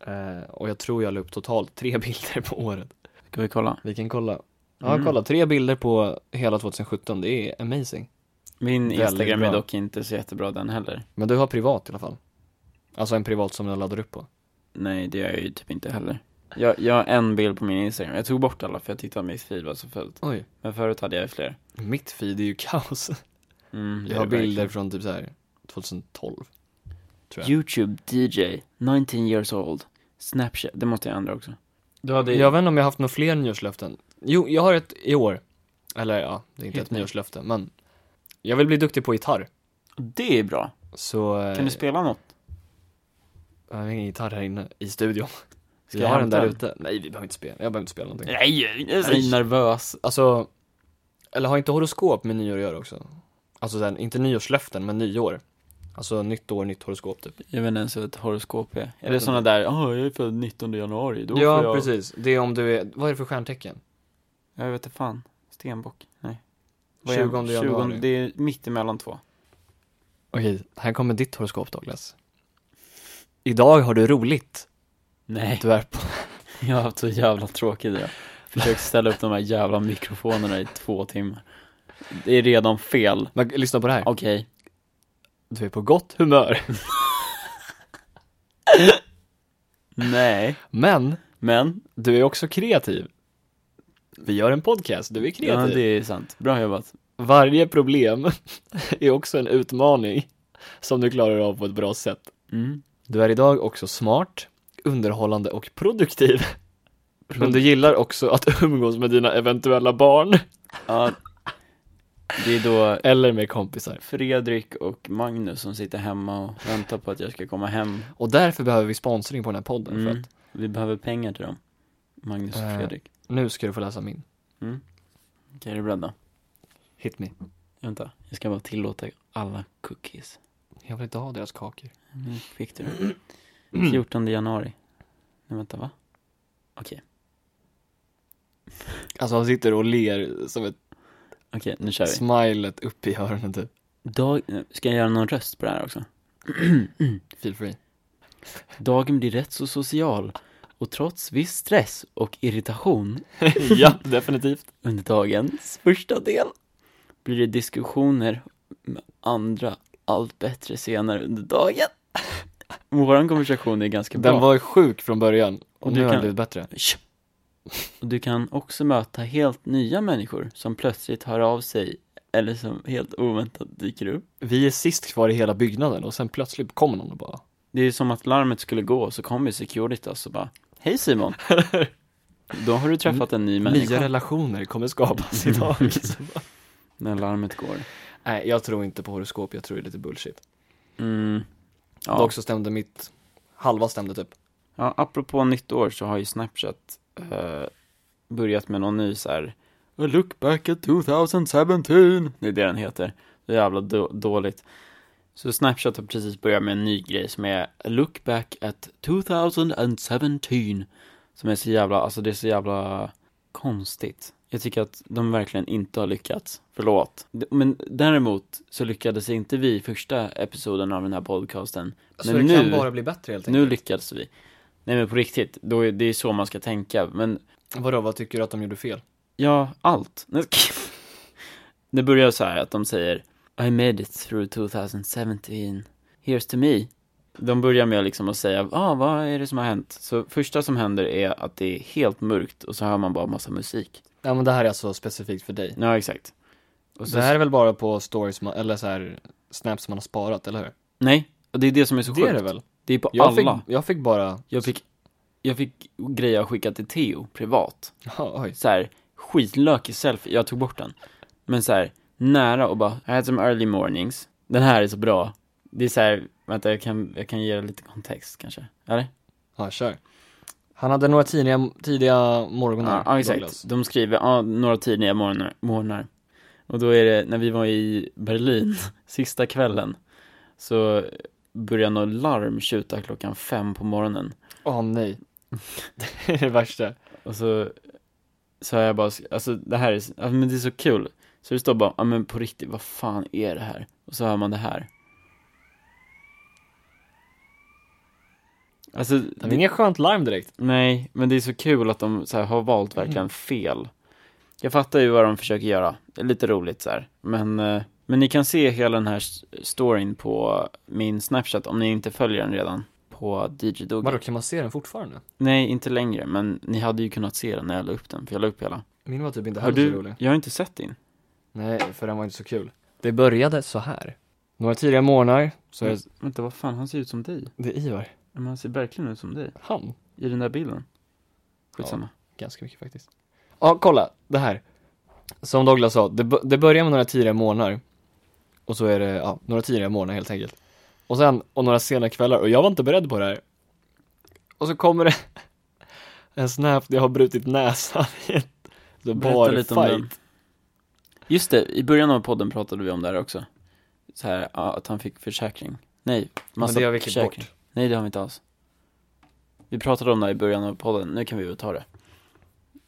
B: Eh, och jag tror jag la upp totalt tre bilder på året.
A: Ska vi kolla?
B: Vi kan kolla. Ja,
A: Mm.
B: kolla. Tre bilder på hela 2017. Det är amazing.
A: Min
B: Väldigt
A: Instagram är
B: bra.
A: dock inte så jättebra den heller.
B: Men du har privat i alla fall. Alltså en privat som jag laddar upp på.
A: Nej, det gör jag ju typ inte heller. Jag, jag har en bild på min Instagram. Jag tog bort alla för jag tyckte att mitt feed var så fullt.
B: Oj.
A: Men förut hade jag ju fler.
B: Mitt feed är ju kaos.
A: Mm, det
B: Jag har
A: är det
B: bilder
A: verkligen.
B: från typ så här 2012. tror jag.
A: Youtube DJ, 19 years old. Snapchat, det måste jag ändra också. Du hade
B: Jag vet inte om jag har haft några fler nyårslöften. Jo, jag har ett i år. Eller ja, det är inte
A: Helt
B: ett
A: ny.
B: nyårslöfte, men. Jag vill bli duktig på gitarr.
A: Det är bra.
B: Så... eh,
A: Kan du spela något?
B: Jag har ingen gitarr här inne i studion. Ska
A: jag
B: jag ha den
A: hämta
B: där
A: den?
B: ute? Nej, vi behöver inte spela. Jag behöver inte spela någonting.
A: Nej, jag
B: Jag är
A: är
B: nervös. Alltså, eller har inte horoskop med nyår att göra också? Alltså sen, inte nyårslöften, men nyår. Alltså nytt år, nytt horoskop typ.
A: Jag vet inte ens vad ett horoskop är. Är
B: vet
A: det
B: inte.
A: sådana där, ja, jag är född 19 januari, då
B: ja,
A: får jag...
B: precis. Det är om du är, vad är det för stjärntecken?
A: Jag vet inte fan. Stenbock? Nej.
B: 20 januari.
A: Det är mitt emellan två.
B: Okej, här kommer ditt horoskop Douglas. Idag har du roligt.
A: Nej,
B: Du är på...
A: jag har haft så jävla tråkigt idag. Försökt ställa upp de här jävla mikrofonerna i två timmar. Det är redan fel.
B: Men lyssna på det här.
A: Okej.
B: Du är på gott humör.
A: Nej.
B: Men,
A: Men,
B: du är också kreativ. Vi gör en podcast, du är kreativ.
A: ja, det är sant. Bra jobbat.
B: Varje problem är också en utmaning som du klarar av på ett bra sätt.
A: Mm.
B: Du är idag också smart, underhållande och produktiv. Men du gillar också att umgås med dina eventuella barn
A: Ja, det är då
B: eller med kompisar.
A: Fredrik och Magnus som sitter hemma och väntar på att jag ska komma hem.
B: Och därför behöver vi sponsring på den här podden för
A: Mm.
B: att
A: Vi behöver pengar till dem. Magnus och
B: Eh.
A: Fredrik.
B: nu ska du få läsa min.
A: Okej, är du beredda?
B: Hit me.
A: Vänta, jag ska bara tillåta alla cookies.
B: Jag vill inte ha deras kakor.
A: Nu fick du Mm, det. 14 januari. Nej, vänta, va? Okej,
B: Alltså han sitter och ler som ett
A: okej, nu kör vi.
B: smilet upp i öronen typ.
A: Dag... eh, Ska jag göra någon röst på det här också?
B: Feel free.
A: Dagen blir rätt så social. Och trots viss stress och irritation
B: ja, definitivt.
A: under dagens första del blir det diskussioner med andra allt bättre senare under dagen. Vår konversation är ganska bra.
B: Den var sjuk från början och,
A: Och
B: nu
A: du
B: har
A: kan-
B: den blivit bättre.
A: Tjo. Och du kan också möta helt nya människor som plötsligt hör av sig eller som helt oväntat dyker upp.
B: Vi är sist kvar i hela byggnaden och sen plötsligt kommer någon och bara
A: Det är som att larmet skulle gå och så kommer Securitas och bara Hej Simon! Då har du träffat en ny
B: Nya
A: människa
B: relationer kommer skapas idag. Så bara-
A: när larmet går.
B: Nej, jag tror inte på horoskop, jag tror det är lite bullshit.
A: Mm. Ja.
B: Dock så stämde mitt, halva stämde typ.
A: Ja, apropå nytt år så har ju Snapchat eh, börjat med någon ny så här A look back at 2017 Det är det den heter. Det är jävla då- dåligt. Så Snapchat har precis börjat med en ny grej som är A look back at 2017 Som är så jävla, alltså det är så jävla konstigt. Jag tycker att de verkligen inte har lyckats. Förlåt. D- Men däremot så lyckades inte vi i första episoden av den här podcasten.
B: Så
A: Men
B: det kan
A: nu-
B: bara bli bättre helt
A: Nu
B: enkelt.
A: lyckades vi. Nej men på riktigt, då är, det är så man ska tänka. Men
B: Vadå, vad tycker du att de gjorde fel?
A: ja, allt. Nej, Det börjar så här att de säger I made it through 2017. Here's to me. De börjar med liksom att säga, ah, vad är det som har hänt? Så första som händer är att det är helt mörkt och så hör man bara massa musik.
B: Ja men det här är alltså specifikt för dig.
A: Ja, exakt. Och så,
B: Det här är väl bara på stories, man, eller så här snaps man har sparat, eller hur?
A: Nej, och det är det som är så
B: Det
A: sjukt.
B: är det väl?
A: Det är på
B: Jag
A: alla.
B: fick, jag fick bara,
A: Jag fick jag fick grejer jag skickat till Theo privat.
B: Ja, oj.
A: Så här, skitlökig selfie, jag tog bort den. Men så här, nära och bara, I had some early mornings. Den här är så bra. Det är så här, vänta jag kan, jag kan ge dig lite kontext kanske. Eller?
B: Ja, kör. Han hade några tidiga, tidiga morgnar.
A: Ja, ja
B: Douglas.
A: exakt. De skriver, ja, några tidiga morgnar, morgnar. Och då är det, när vi var i Berlin, sista kvällen, så började något larm tjuta klockan fem på morgonen.
B: Åh nej. det är det värsta.
A: Och så sa jag bara, alltså det här är, alltså, men det är så kul. Så det står bara, ja men på riktigt, vad fan är det här? Och så hör man det här. Alltså,
B: Det är inget skönt larm direkt.
A: Nej, men det är så kul att de så här, har valt verkligen fel. Jag fattar ju vad de försöker göra, det är lite roligt så här. Men, eh, men ni kan se hela den här s- storyn på min Snapchat om ni inte följer den redan. På DJ Doggy.
B: Vadå, kan man se den fortfarande?
A: Nej, inte längre, men ni hade ju kunnat se den när jag la upp den, för jag la upp hela.
B: Min var typ inte
A: Har
B: heller så
A: du,
B: rolig.
A: jag har inte sett din.
B: Nej, för den var inte så kul. Det började så här. Några tidiga morgnar, så är
A: Mm. Vänta, vad fan, han ser ut som dig.
B: det är Ivar.
A: Men han ser verkligen ut som dig,
B: Han.
A: i den där bilden. Skitsamma.
B: Ganska mycket faktiskt. Ja, kolla. Det här. Som Douglas sa, det, b- det börjar med några tidiga morgnar. Och så är det, ja, några tidiga morgnar helt enkelt. Och sen, och några sena kvällar. Och jag var inte beredd på det här. Och så kommer det en snap där jag har brutit näsan i ett så
A: Berätta
B: bar
A: lite
B: fight.
A: om den. Just det, i början av podden pratade vi om det här också. Så här, ja, att han fick försäkring. Nej, massa
B: Men det har vi klippt
A: försäkring.
B: bort.
A: Nej, det har vi inte alls. Vi pratade om det här i början av podden, nu kan vi väl ta det.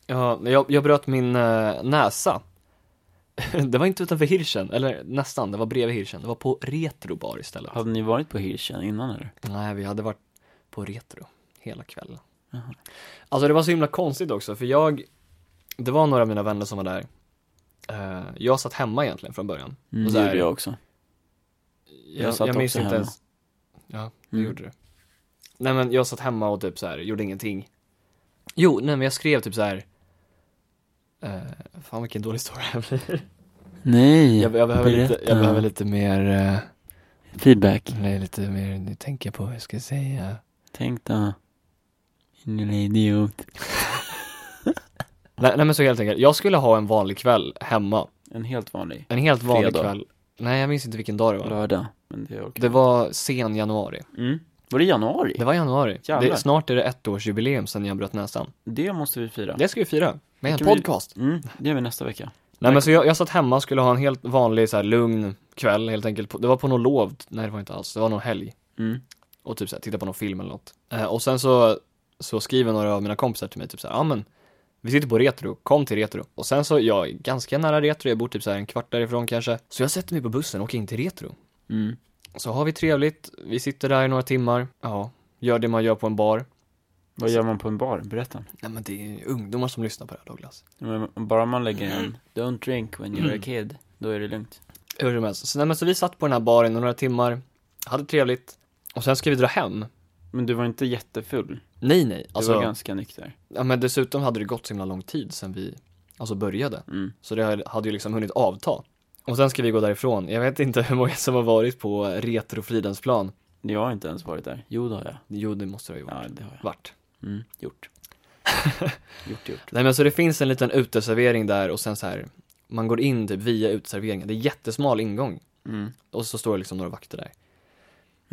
B: Ja, men jag, jag bröt min eh, näsa. det var inte utanför Hirschen, eller nästan, det var bredvid Hirschen. Det var på Retrobar istället.
A: Hade ni varit på Hirschen innan eller?
B: Nej, vi hade varit på retro hela kvällen.
A: Jaha.
B: Alltså det var så himla konstigt också, för jag, det var några av mina vänner som var där. Eh, jag satt hemma egentligen från början.
A: Mm, det
B: Och så här-
A: gjorde jag också.
B: Jag,
A: satt
B: jag minns
A: också
B: inte
A: hemma.
B: ens. Ja, det
A: Mm.
B: gjorde du. Nej men jag satt hemma och typ så här, gjorde ingenting. Jo, nej men jag skrev typ så här. eh, fan vilken dålig historia det här blir.
A: Nej,
B: Jag, jag, behöver lite, jag
A: berätta.
B: behöver lite mer, eh,
A: Feedback.
B: nej, lite mer, nu tänker jag på hur jag ska säga.
A: Tänk då. Din lilla idiot.
B: Nej, nej men så helt enkelt, jag skulle ha en vanlig kväll hemma.
A: En helt vanlig
B: En helt vanlig
A: Fredag.
B: kväll. Nej jag minns inte vilken dag det var.
A: lördag. Men det orkar
B: Det var sen januari.
A: mm. Var det januari?
B: Det var januari.
A: Jävlar.
B: Det, snart är det ett års jubileum sen jag bröt näsan.
A: Det måste vi fira.
B: Det ska vi fira. Med en
A: kan vi-
B: podcast.
A: Mm, det gör vi nästa vecka.
B: Nej men så jag, jag satt hemma och skulle ha en helt vanlig så här, lugn kväll helt enkelt. På- Det var på något lov, nej det var inte alls, det var någon helg.
A: Mm.
B: och typ så här, titta på någon film eller något. Eh, och sen så, så skriver några av mina kompisar till mig typ så här, ja men vi sitter på Retro, kom till Retro. Och sen så, jag är ganska nära Retro, jag bor typ så här en kvart därifrån kanske. Så jag sätter mig på bussen och åker in till Retro.
A: Mm.
B: Så har vi trevligt, vi sitter där i några timmar, ja, gör det man gör på en bar.
A: Vad gör man på en bar? Berätta.
B: Nej men det är ungdomar som lyssnar på det här Douglas.
A: Men bara man lägger en Don't drink when you're a kid, då är det lugnt.
B: Hur som helst, så, nej, men så vi satt på den här baren i några timmar, hade trevligt. Och sen ska vi dra hem.
A: Men du var inte jättefull,
B: Nej nej,
A: du
B: alltså,
A: var ganska nykter.
B: ja, men dessutom hade det gått så himla lång tid sen vi, alltså började.
A: Mm.
B: Så det hade ju liksom hunnit avta. Och sen ska vi gå därifrån. Jag vet inte hur många som har varit på Retro Fridensplan.
A: Jag har inte ens varit där. Jo, det har jag.
B: Jo, det måste det ha gjort.
A: Ja, det har jag.
B: Vart?
A: Mm. Gjort. gjort, gjort.
B: Nej men så det finns en liten uteservering där och sen så här, man går in typ via uteserveringen. Det är jättesmal ingång.
A: Mm.
B: Och så står det liksom några vakter där.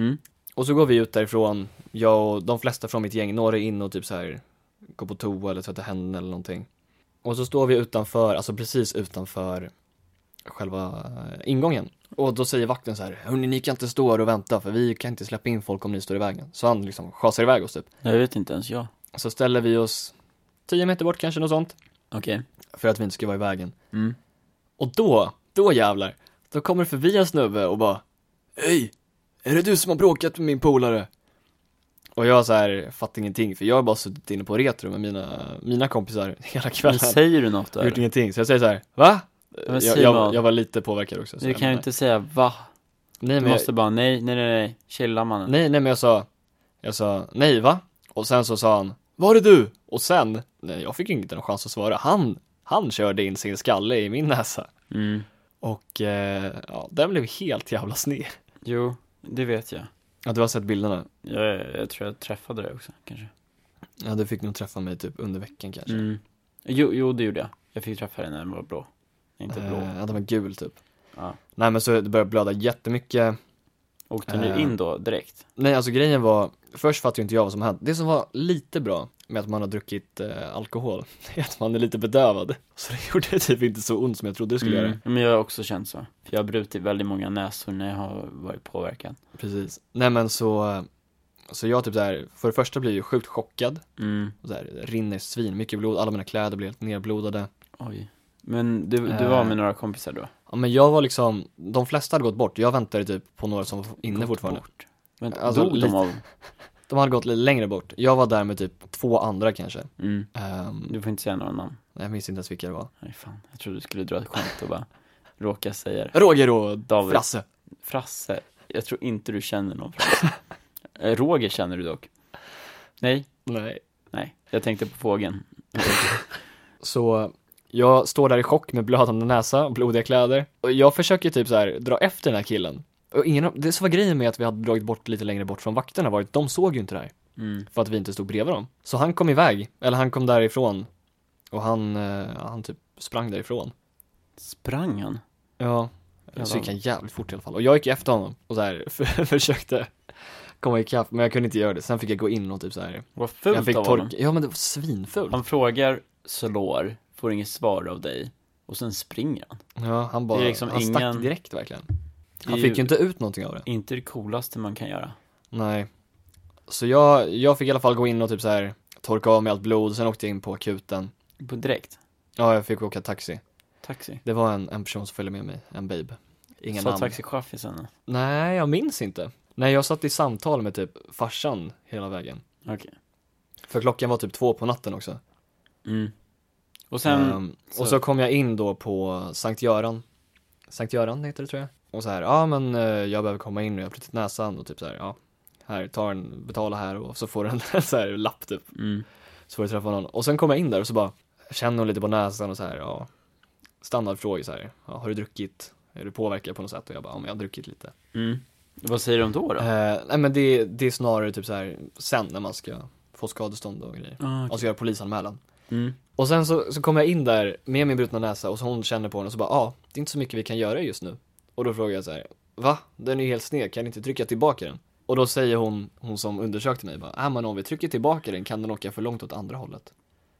A: Mm.
B: Och så går vi ut därifrån, jag och de flesta från mitt gäng, några är in och typ så här går på toa eller tvättar händerna eller någonting. Och så står vi utanför, alltså precis utanför själva eh, ingången. Och då säger vakten så här, hörni ni kan inte stå här och vänta för vi kan inte släppa in folk om ni står i vägen. Så han liksom schasar iväg oss typ.
A: Jag vet inte ens jag.
B: Så ställer vi oss 10 meter bort kanske, något sånt.
A: Okej.
B: För att vi inte ska vara i vägen.
A: Mm.
B: Och då, då jävlar, då kommer det förbi en snubbe och bara Hej! Är det du som har bråkat med min polare? Och jag så här fattar ingenting för jag har bara suttit inne på retro med mina, mina kompisar hela
A: Men
B: kvällen.
A: säger du något då?
B: Jag har gjort
A: eller?
B: ingenting, så jag säger så här, va?
A: Men
B: jag,
A: Simon.
B: jag, jag var lite påverkad också. så
A: Du
B: jag
A: kan ju
B: menar-
A: inte säga va?
B: nej,
A: Du
B: men jag,
A: måste bara nej, nej, nej, nej. Chilla mannen.
B: nej, nej men jag sa, jag sa nej va? Och sen så sa han, var är du? Och sen, nej jag fick inte någon chans att svara, han, han körde in sin skalle i min näsa.
A: Mm.
B: Och eh, ja, den blev helt jävla sned.
A: Jo, det vet jag.
B: Ja, du har sett bilderna.
A: jag. Jag tror jag träffade dig också, kanske.
B: Ja, du fick nog träffa mig typ under veckan kanske.
A: Mm. Jo, jo det gjorde jag. Jag fick träffa henne när den var blå. Inte blå.
B: Eh, ja, den var gul typ.
A: Ja.
B: Nej men så det började blöda jättemycket.
A: Åkte ni
B: eh.
A: in då direkt?
B: Nej alltså grejen var, först fattade ju inte jag vad som hände. Det som var lite bra med att man har druckit eh, alkohol, är att man är lite bedövad. Så det gjorde typ inte så ont som jag trodde det skulle göra.
A: Mm. Men jag har också känt så. För jag har brutit väldigt många näsor när jag har varit påverkad.
B: Precis. Nej men så, eh, så jag typ såhär, för det första blir jag ju sjukt chockad.
A: Mm.
B: Och Så här, det rinner svin, mycket blod, alla mina kläder blir helt nerblodade.
A: Oj. Men du, du var
B: Eh.
A: med några kompisar då?
B: Ja men jag var liksom, de flesta hade gått bort, jag väntade typ på några som var inne
A: Gått
B: fortfarande.
A: Bort. Vänta,
B: Alltså,
A: dog de
B: lite.
A: av?
B: De hade gått lite längre bort, jag var där med typ två andra kanske.
A: Mm.
B: Ehm,
A: Du får inte säga några namn.
B: nej, jag minns inte ens vilka det var.
A: Nej fan, jag trodde du skulle dra ett skämt och bara råka säga det.
B: Roger och
A: David.
B: Frasse.
A: Frasse. Jag tror inte du känner någon Frasse. Eh, Roger känner du dock. Nej,
B: Nej.
A: nej. Jag tänkte på fågeln.
B: Så jag står där i chock med blödande näsa och blodiga kläder. Och jag försöker typ så här dra efter den här killen. Och ingen av, det som var grejen med att vi hade dragit bort lite längre bort från vakterna var att de såg ju inte det här.
A: Mm.
B: För att vi inte stod bredvid dem. Så han kom iväg, eller han kom därifrån. Och han, eh, han typ sprang därifrån.
A: Sprang han?
B: Ja. Så
A: Jävlar.
B: gick han jävligt fort i alla fall. Och jag gick efter honom och så här försökte komma ikapp, men jag kunde inte göra det. Sen fick jag gå in och typ så här.
A: Vad
B: Jag
A: fult
B: fick
A: av honom.
B: torka, ja men det var svinfult.
A: Han frågar, slår, får inget svar av dig och sen springer han.
B: Ja, han bara,
A: Det är liksom
B: han
A: ingen-
B: stack direkt verkligen. Han
A: är
B: fick ju inte ut någonting av det.
A: Inte det coolaste man kan göra.
B: Nej. Så jag, jag fick i alla fall gå in och typ så här torka av mig allt blod, sen åkte jag in på akuten.
A: På direkt.
B: Ja, jag fick åka taxi.
A: Taxi.
B: Det var en, en person som följde med mig, en babe. Inga
A: Sa
B: namn.
A: taxichauffören
B: Nej, jag minns inte. Nej, jag satt i samtal med typ farsan hela vägen.
A: Okej.
B: För klockan var typ två på natten också.
A: Mm. Och sen,
B: Ehm,
A: så-
B: Och så kom jag in då på Sankt Göran. Sankt Göran heter det tror jag. Och så här, ja men eh, jag behöver komma in nu, jag har brutit näsan och typ så här, ja. Här, ta en, betala här och så får du en så här lapp typ.
A: mm.
B: Så får du träffa någon. Och sen kom jag in där och så bara, känner hon lite på näsan och så här, ja. Standardfrågor så här, ja, har du druckit? Är du påverkad på något sätt? Och jag bara, ja men jag har druckit lite.
A: Mm. Vad säger de då då?
B: Eh, nej men det, det är snarare typ så här, sen när man ska få skadestånd och grejer.
A: Ah, okej.
B: Alltså göra polisanmälan.
A: mm.
B: Och sen så, så kommer jag in där med min brutna näsa och så hon känner på den och så bara, ja, ah, det är inte så mycket vi kan göra just nu. Och då frågar jag så här, va? Den är ju helt sned, kan ni inte trycka tillbaka den? Och då säger hon, hon som undersökte mig bara, ah, men om vi trycker tillbaka den kan den åka för långt åt andra hållet.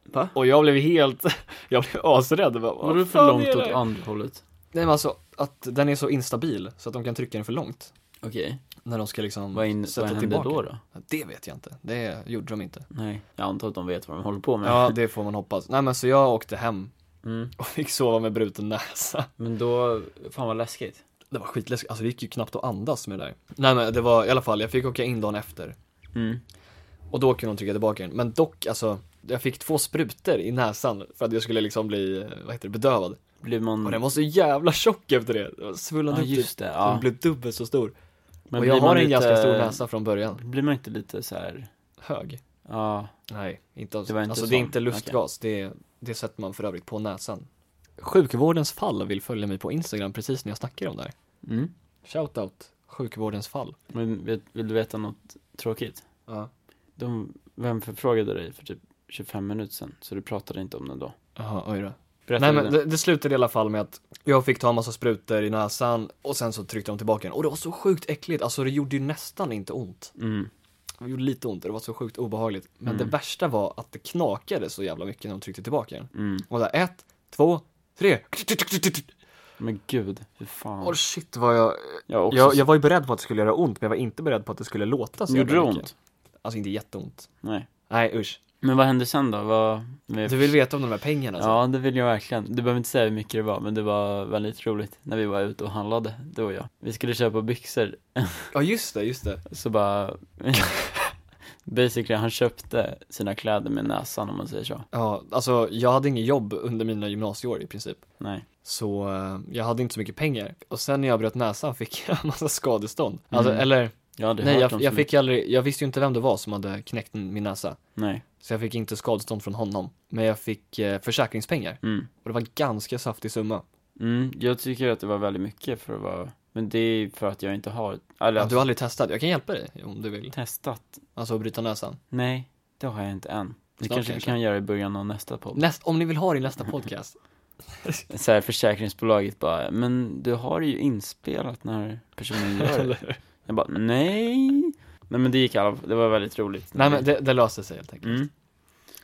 A: Va?
B: Och jag blev helt, jag blev asrädd. Jag Bara, "Vad
A: Vadå för
B: fan
A: långt
B: är
A: åt
B: det?"
A: andra hållet?
B: Nej men alltså, att den är så instabil så att de kan trycka den för långt.
A: Okej.
B: När de ska liksom
A: Vad, in,
B: sätta
A: vad hände
B: tillbaka.
A: då då?
B: Det vet jag inte, det gjorde de inte.
A: Nej, jag antar att de vet vad de håller på med.
B: Ja, det får man hoppas. Nej men så jag åkte hem
A: Mm.
B: och fick sova med bruten näsa.
A: Men då, fan vad läskigt.
B: Det var skitläskigt, alltså det gick ju knappt att andas med det där. Nej men det var i alla fall, jag fick åka in dagen efter.
A: Mm.
B: Och då kunde de trycka tillbaka den. Men dock, alltså, jag fick två sprutor i näsan för att jag skulle liksom bli, eh, vad heter det, bedövad.
A: Blev man...
B: Och den var så jävla tjock efter det. Den
A: Mm. Ja,
B: svullnade upp typ.
A: just det.
B: Den
A: Ja.
B: blev dubbelt så stor.
A: Men
B: och jag
A: blir man
B: har en
A: lite-
B: ganska stor näsa från början.
A: Blir man inte lite så här...
B: Hög.
A: Ja,
B: Nej, inte, av-
A: Det var inte
B: alltså
A: sån.
B: det är inte lustgas, det, det sätter man för övrigt på näsan. Sjukvårdens fall vill följa mig på Instagram precis när jag snackar om det här.
A: mm.
B: Shoutout, sjukvårdens fall.
A: Men vet, vill du veta något tråkigt?
B: Ja.
A: De, vem förfrågade dig för typ 25 minuter sedan? Så du pratade inte om den då?
B: Jaha, oj då.
A: Berätta
B: Nej
A: du den?
B: men det, det slutade i alla fall med att jag fick ta en massa sprutor i näsan och sen så tryckte de tillbaka den och det var så sjukt äckligt, alltså det gjorde ju nästan inte ont.
A: Mm.
B: Det gjorde lite ont och det var så sjukt obehagligt. Men
A: Mm.
B: det värsta var att det knakade så jävla mycket när de tryckte tillbaka den.
A: Mm.
B: Och där, ett, två, tre.
A: Men gud, hur fan.
B: Åh shit vad jag,
A: jag, har också,
B: jag, jag var ju beredd på att det skulle göra ont men jag var inte beredd på att det skulle låta så
A: Gjorde det
B: jävla mycket.
A: ont?
B: Alltså inte jätteont.
A: Nej.
B: Nej usch.
A: Men vad hände sen då? Vad... med-
B: Du vill veta om de här pengarna alltså?
A: Ja, det vill jag verkligen. Du behöver inte säga hur mycket det var, men det var väldigt roligt när vi var ute och handlade, du och jag. Vi skulle köpa byxor,
B: Ja just det, just det.
A: så bara... Basically, han köpte sina kläder med näsan om man säger så.
B: Ja, alltså jag hade inget jobb under mina gymnasieår i princip.
A: Nej.
B: Så eh, jag hade inte så mycket pengar. Och sen när jag bröt näsan fick jag en massa skadestånd. Alltså,
A: Mm.
B: eller,
A: Jag hade
B: nej
A: hört
B: jag,
A: om
B: jag
A: så
B: fick aldrig, jag visste ju inte vem det var som hade knäckt min näsa.
A: mycket. Nej.
B: Så jag fick inte skadestånd från honom. Men jag fick eh, försäkringspengar.
A: Mm.
B: Och det var en ganska saftig summa.
A: Mm, jag tycker att det var väldigt mycket för att vara... Men det är för att jag inte har... Eller, alltså,
B: Ja, du har aldrig testat, jag kan hjälpa dig om du vill.
A: testat?
B: Alltså att bryta näsan.
A: Nej. Det har jag inte än. Det
B: Snart
A: kanske vi
B: kanske.
A: kan göra i början av nästa podd.
B: Näst, om ni vill ha det i nästa podcast.
A: Så här, försäkringsbolaget bara, men du har ju inspelat när personen gör det.
B: Eller-
A: Jag bara, nej. Nej men det gick i alla fall, det var väldigt roligt.
B: Nej men det, det löser sig helt enkelt.
A: Mm.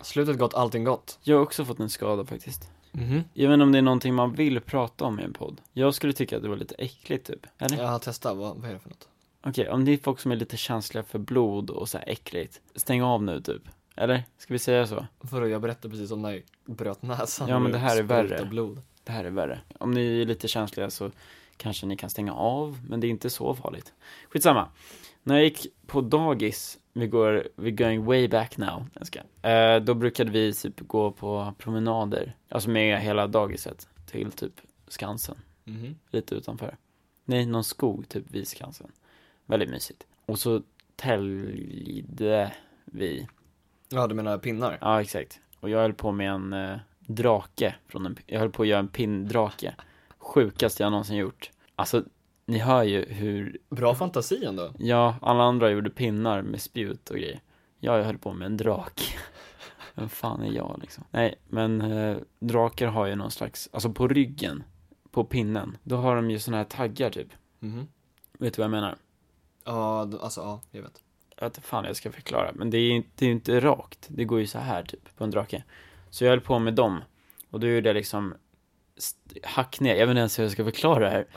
B: Slutet gott, allting gott.
A: Jag har också fått en skada faktiskt.
B: Mhm.
A: Jag vet inte om det är någonting man vill prata om i en podd. Jag skulle tycka att det var lite äckligt typ. Eller?
B: Jag har testat, vad, vad är det för något?
A: Okej, om det är folk som är lite känsliga för blod och så här äckligt, stäng av nu typ. Eller? Ska vi säga så?
B: Vadå, jag berättade precis om när jag bröt näsan.
A: Ja,
B: och
A: men det här är
B: sprutade
A: värre.
B: blod.
A: Det här är värre. Om ni är lite känsliga så kanske ni kan stänga av, men det är inte så farligt. Skitsamma. När jag gick på dagis, vi går, we're going way back now, jag ska. Eh, då brukade vi typ gå på promenader, alltså med hela dagiset, till typ Skansen.
B: Mhm.
A: lite utanför. Nej, någon skog typ vid Skansen. Väldigt mysigt. Och så täljde vi.
B: Ja, du menar pinnar?
A: Ja, exakt. Och jag höll på med en eh, drake. Från en, jag höll på att göra en pinndrake. Sjukaste jag någonsin gjort. Alltså, ni hör ju hur,
B: Bra fantasi ändå.
A: ja, alla andra gjorde pinnar med spjut och grejer. Jag höll på med en drake. Vem fan är jag liksom? Nej, men eh, drakar har ju någon slags, alltså på ryggen, på pinnen, då har de ju såna här taggar typ.
B: Mhm.
A: Vet du vad jag menar?
B: Ja, d- alltså ja, jag vet.
A: Jag vet inte fan jag ska förklara, men det är ju inte, det är ju inte rakt. Det går ju så här typ, på en drake. Så jag höll på med dem, och då gjorde jag liksom st- hack ner, jag vet inte ens hur jag ska förklara det här.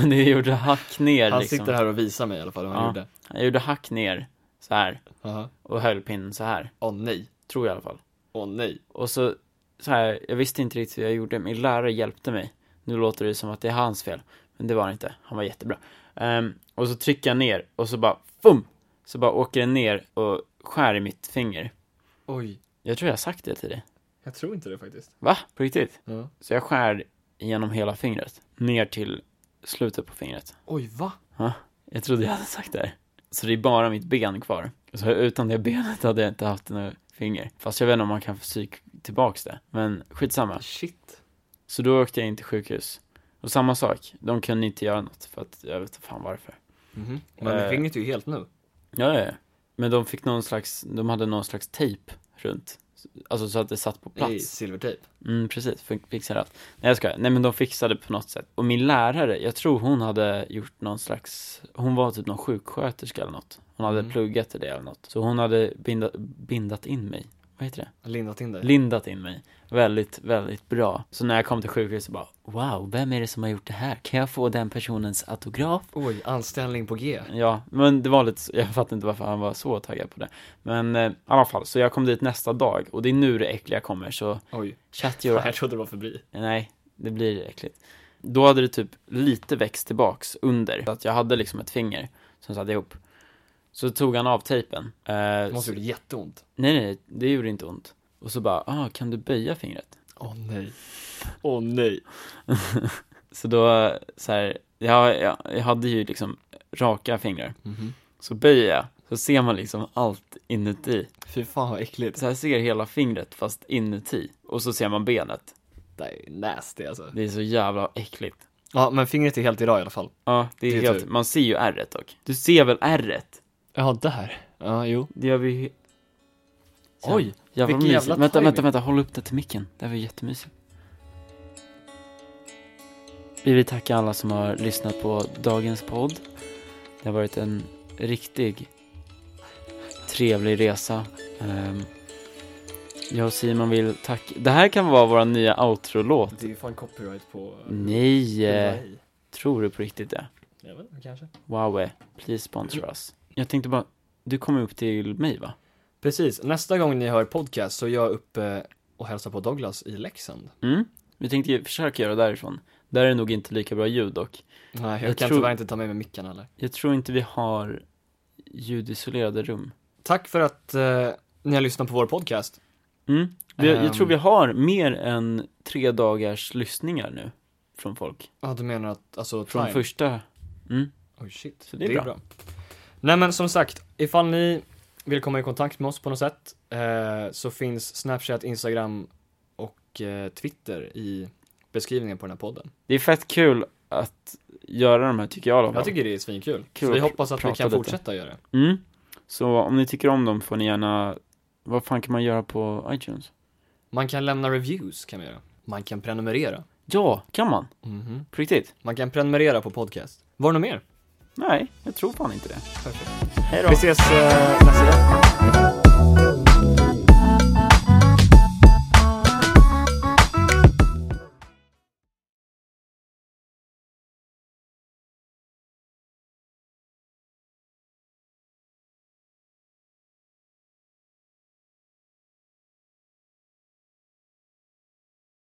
A: Men jag gjorde hack ner
B: Han
A: liksom.
B: sitter här och visar mig i alla fall hur han
A: Ja.
B: gjorde.
A: Jag gjorde hack ner, så här
B: Aha.
A: och höll pinnen så här
B: Åh nej,
A: tror jag i alla fall.
B: åh nej.
A: Och så, så här, jag visste inte riktigt hur jag gjorde, min lärare hjälpte mig. Nu låter det som att det är hans fel, men det var det inte. Han var jättebra. Ehm, och så trycker jag ner och så bara, fum! Så bara åker den ner och skär i mitt finger.
B: Oj,
A: Jag tror jag har sagt det till dig.
B: jag tror inte det faktiskt.
A: Va? På riktigt?
B: Ja.
A: Så jag skär genom hela fingret, ner till slutet på fingret.
B: Oj, va?
A: Jag trodde jag hade sagt det här. Så det är bara mitt ben kvar. Så utan det benet hade jag inte haft några finger. Fast jag vet inte om man kan få psyk tillbaks det. Men skitsamma.
B: Ah, Shit.
A: Så då åkte jag in till sjukhus. Och samma sak, de kunde inte göra något för att jag vet inte fan varför.
B: Mhm. Men
A: Eh.
B: fingret är ju helt nu.
A: Ja, ja, ja. Men de fick någon slags, de hade någon slags tejp runt. Alltså så att det satt på
B: I
A: plats.
B: silvertejp.
A: Mm, precis, fix- fixade allt. Nej jag skojar, nej men de fixade på något sätt. Och min lärare, jag tror hon hade gjort någon slags, hon var typ någon sjuksköterska eller något. Hon hade
B: Mm.
A: pluggat till det eller något. Så hon hade binda, bindat in mig. Vad heter det?
B: Lindat in dig.
A: lindat in mig väldigt, väldigt bra. Så när jag kom till sjukhuset bara, wow, vem är det som har gjort det här? Kan jag få den personens autograf?
B: Oj, anställning på G.
A: Ja, men det var lite, så- jag fattar inte varför han var så taggad på det. Men eh, i alla fall, så jag kom dit nästa dag och det är nu det äckliga kommer, så
B: Oj,
A: shut your
B: jag trodde det var förbi.
A: Nej, det blir äckligt. Då hade det typ lite växt tillbaks under, så att jag hade liksom ett finger som satt ihop. Så tog han av tejpen. Eh,
B: Det måste gjort jätteont.
A: nej, nej, det gjorde inte ont. Och så bara, ah, kan du böja fingret?
B: Åh nej. Åh nej.
A: Så då, så här, jag, jag, jag hade ju liksom raka fingrar. Så böjer jag, så ser man liksom allt inuti.
B: Fy fan vad äckligt.
A: Så här ser hela fingret fast inuti. Och så ser man benet.
B: Det är nasty alltså.
A: Det är så jävla äckligt.
B: Ja, men fingret är helt idag i alla fall.
A: Ja, det är typ-
B: Det är
A: helt,
B: tur.
A: man ser ju ärret dock. Du ser väl ärret?
B: Ja, där. Ja, jo.
A: Det gör vi ju... Så.
B: Oj,
A: Jävla
B: vilken
A: mysigt.
B: jävla
A: vänta, vänta,
B: timing.
A: vänta, håll upp det till micken. Det här var jättemysigt. Vi vill tacka alla som har lyssnat på dagens podd. Det har varit en riktig trevlig resa. Ehm, jag och Simon vill tacka... Det här kan vara vår nya outro-låt.
B: Det är fan copyright på...
A: Nej! eh, Tror du på riktigt det?
B: Jag vet inte, kanske.
A: Wow, eh, please sponsor us. Jag tänkte bara, du kommer upp till mig va?
B: Precis, nästa gång ni hör podcast så är jag uppe och hälsar på Douglas i Leksand.
A: Mm? Vi tänkte ju försöka göra därifrån. Där är det nog inte lika bra ljud dock.
B: Nej, jag,
A: Jag
B: kan
A: tror-
B: tyvärr inte ta med mig micken heller.
A: Jag tror inte vi har ljudisolerade rum.
B: Tack för att eh, ni har lyssnat på vår podcast.
A: Mm. Vi, Jag
B: Ehm.
A: tror vi har mer än tre dagars lyssningar nu från folk.
B: Ja, du menar att, alltså,
A: Från
B: time.
A: första. Mm.
B: Oj shit,
A: Så det är bra.
B: Nej men som sagt, ifall ni vill komma i kontakt med oss på något sätt eh, så finns Snapchat, Instagram och eh, Twitter i beskrivningen på den här podden.
A: Det är fett kul att göra de här tycker jag i alla fall.
B: Jag tycker det är svinkul.
A: Kul
B: så vi
A: att
B: hoppas att vi
A: prata
B: kan
A: lite.
B: fortsätta göra det.
A: Mm. Så om ni tycker om dem får ni gärna Vad fan kan man göra på iTunes?
B: Man kan lämna reviews kan man göra. Man kan prenumerera.
A: Ja, kan man?
B: Mhm.
A: På riktigt?
B: Man kan prenumerera på podcast. Var det något mer?
A: Nej, jag tror fan inte det.
B: Perfekt.
A: Hej då!
B: Vi ses eh, nästa vecka.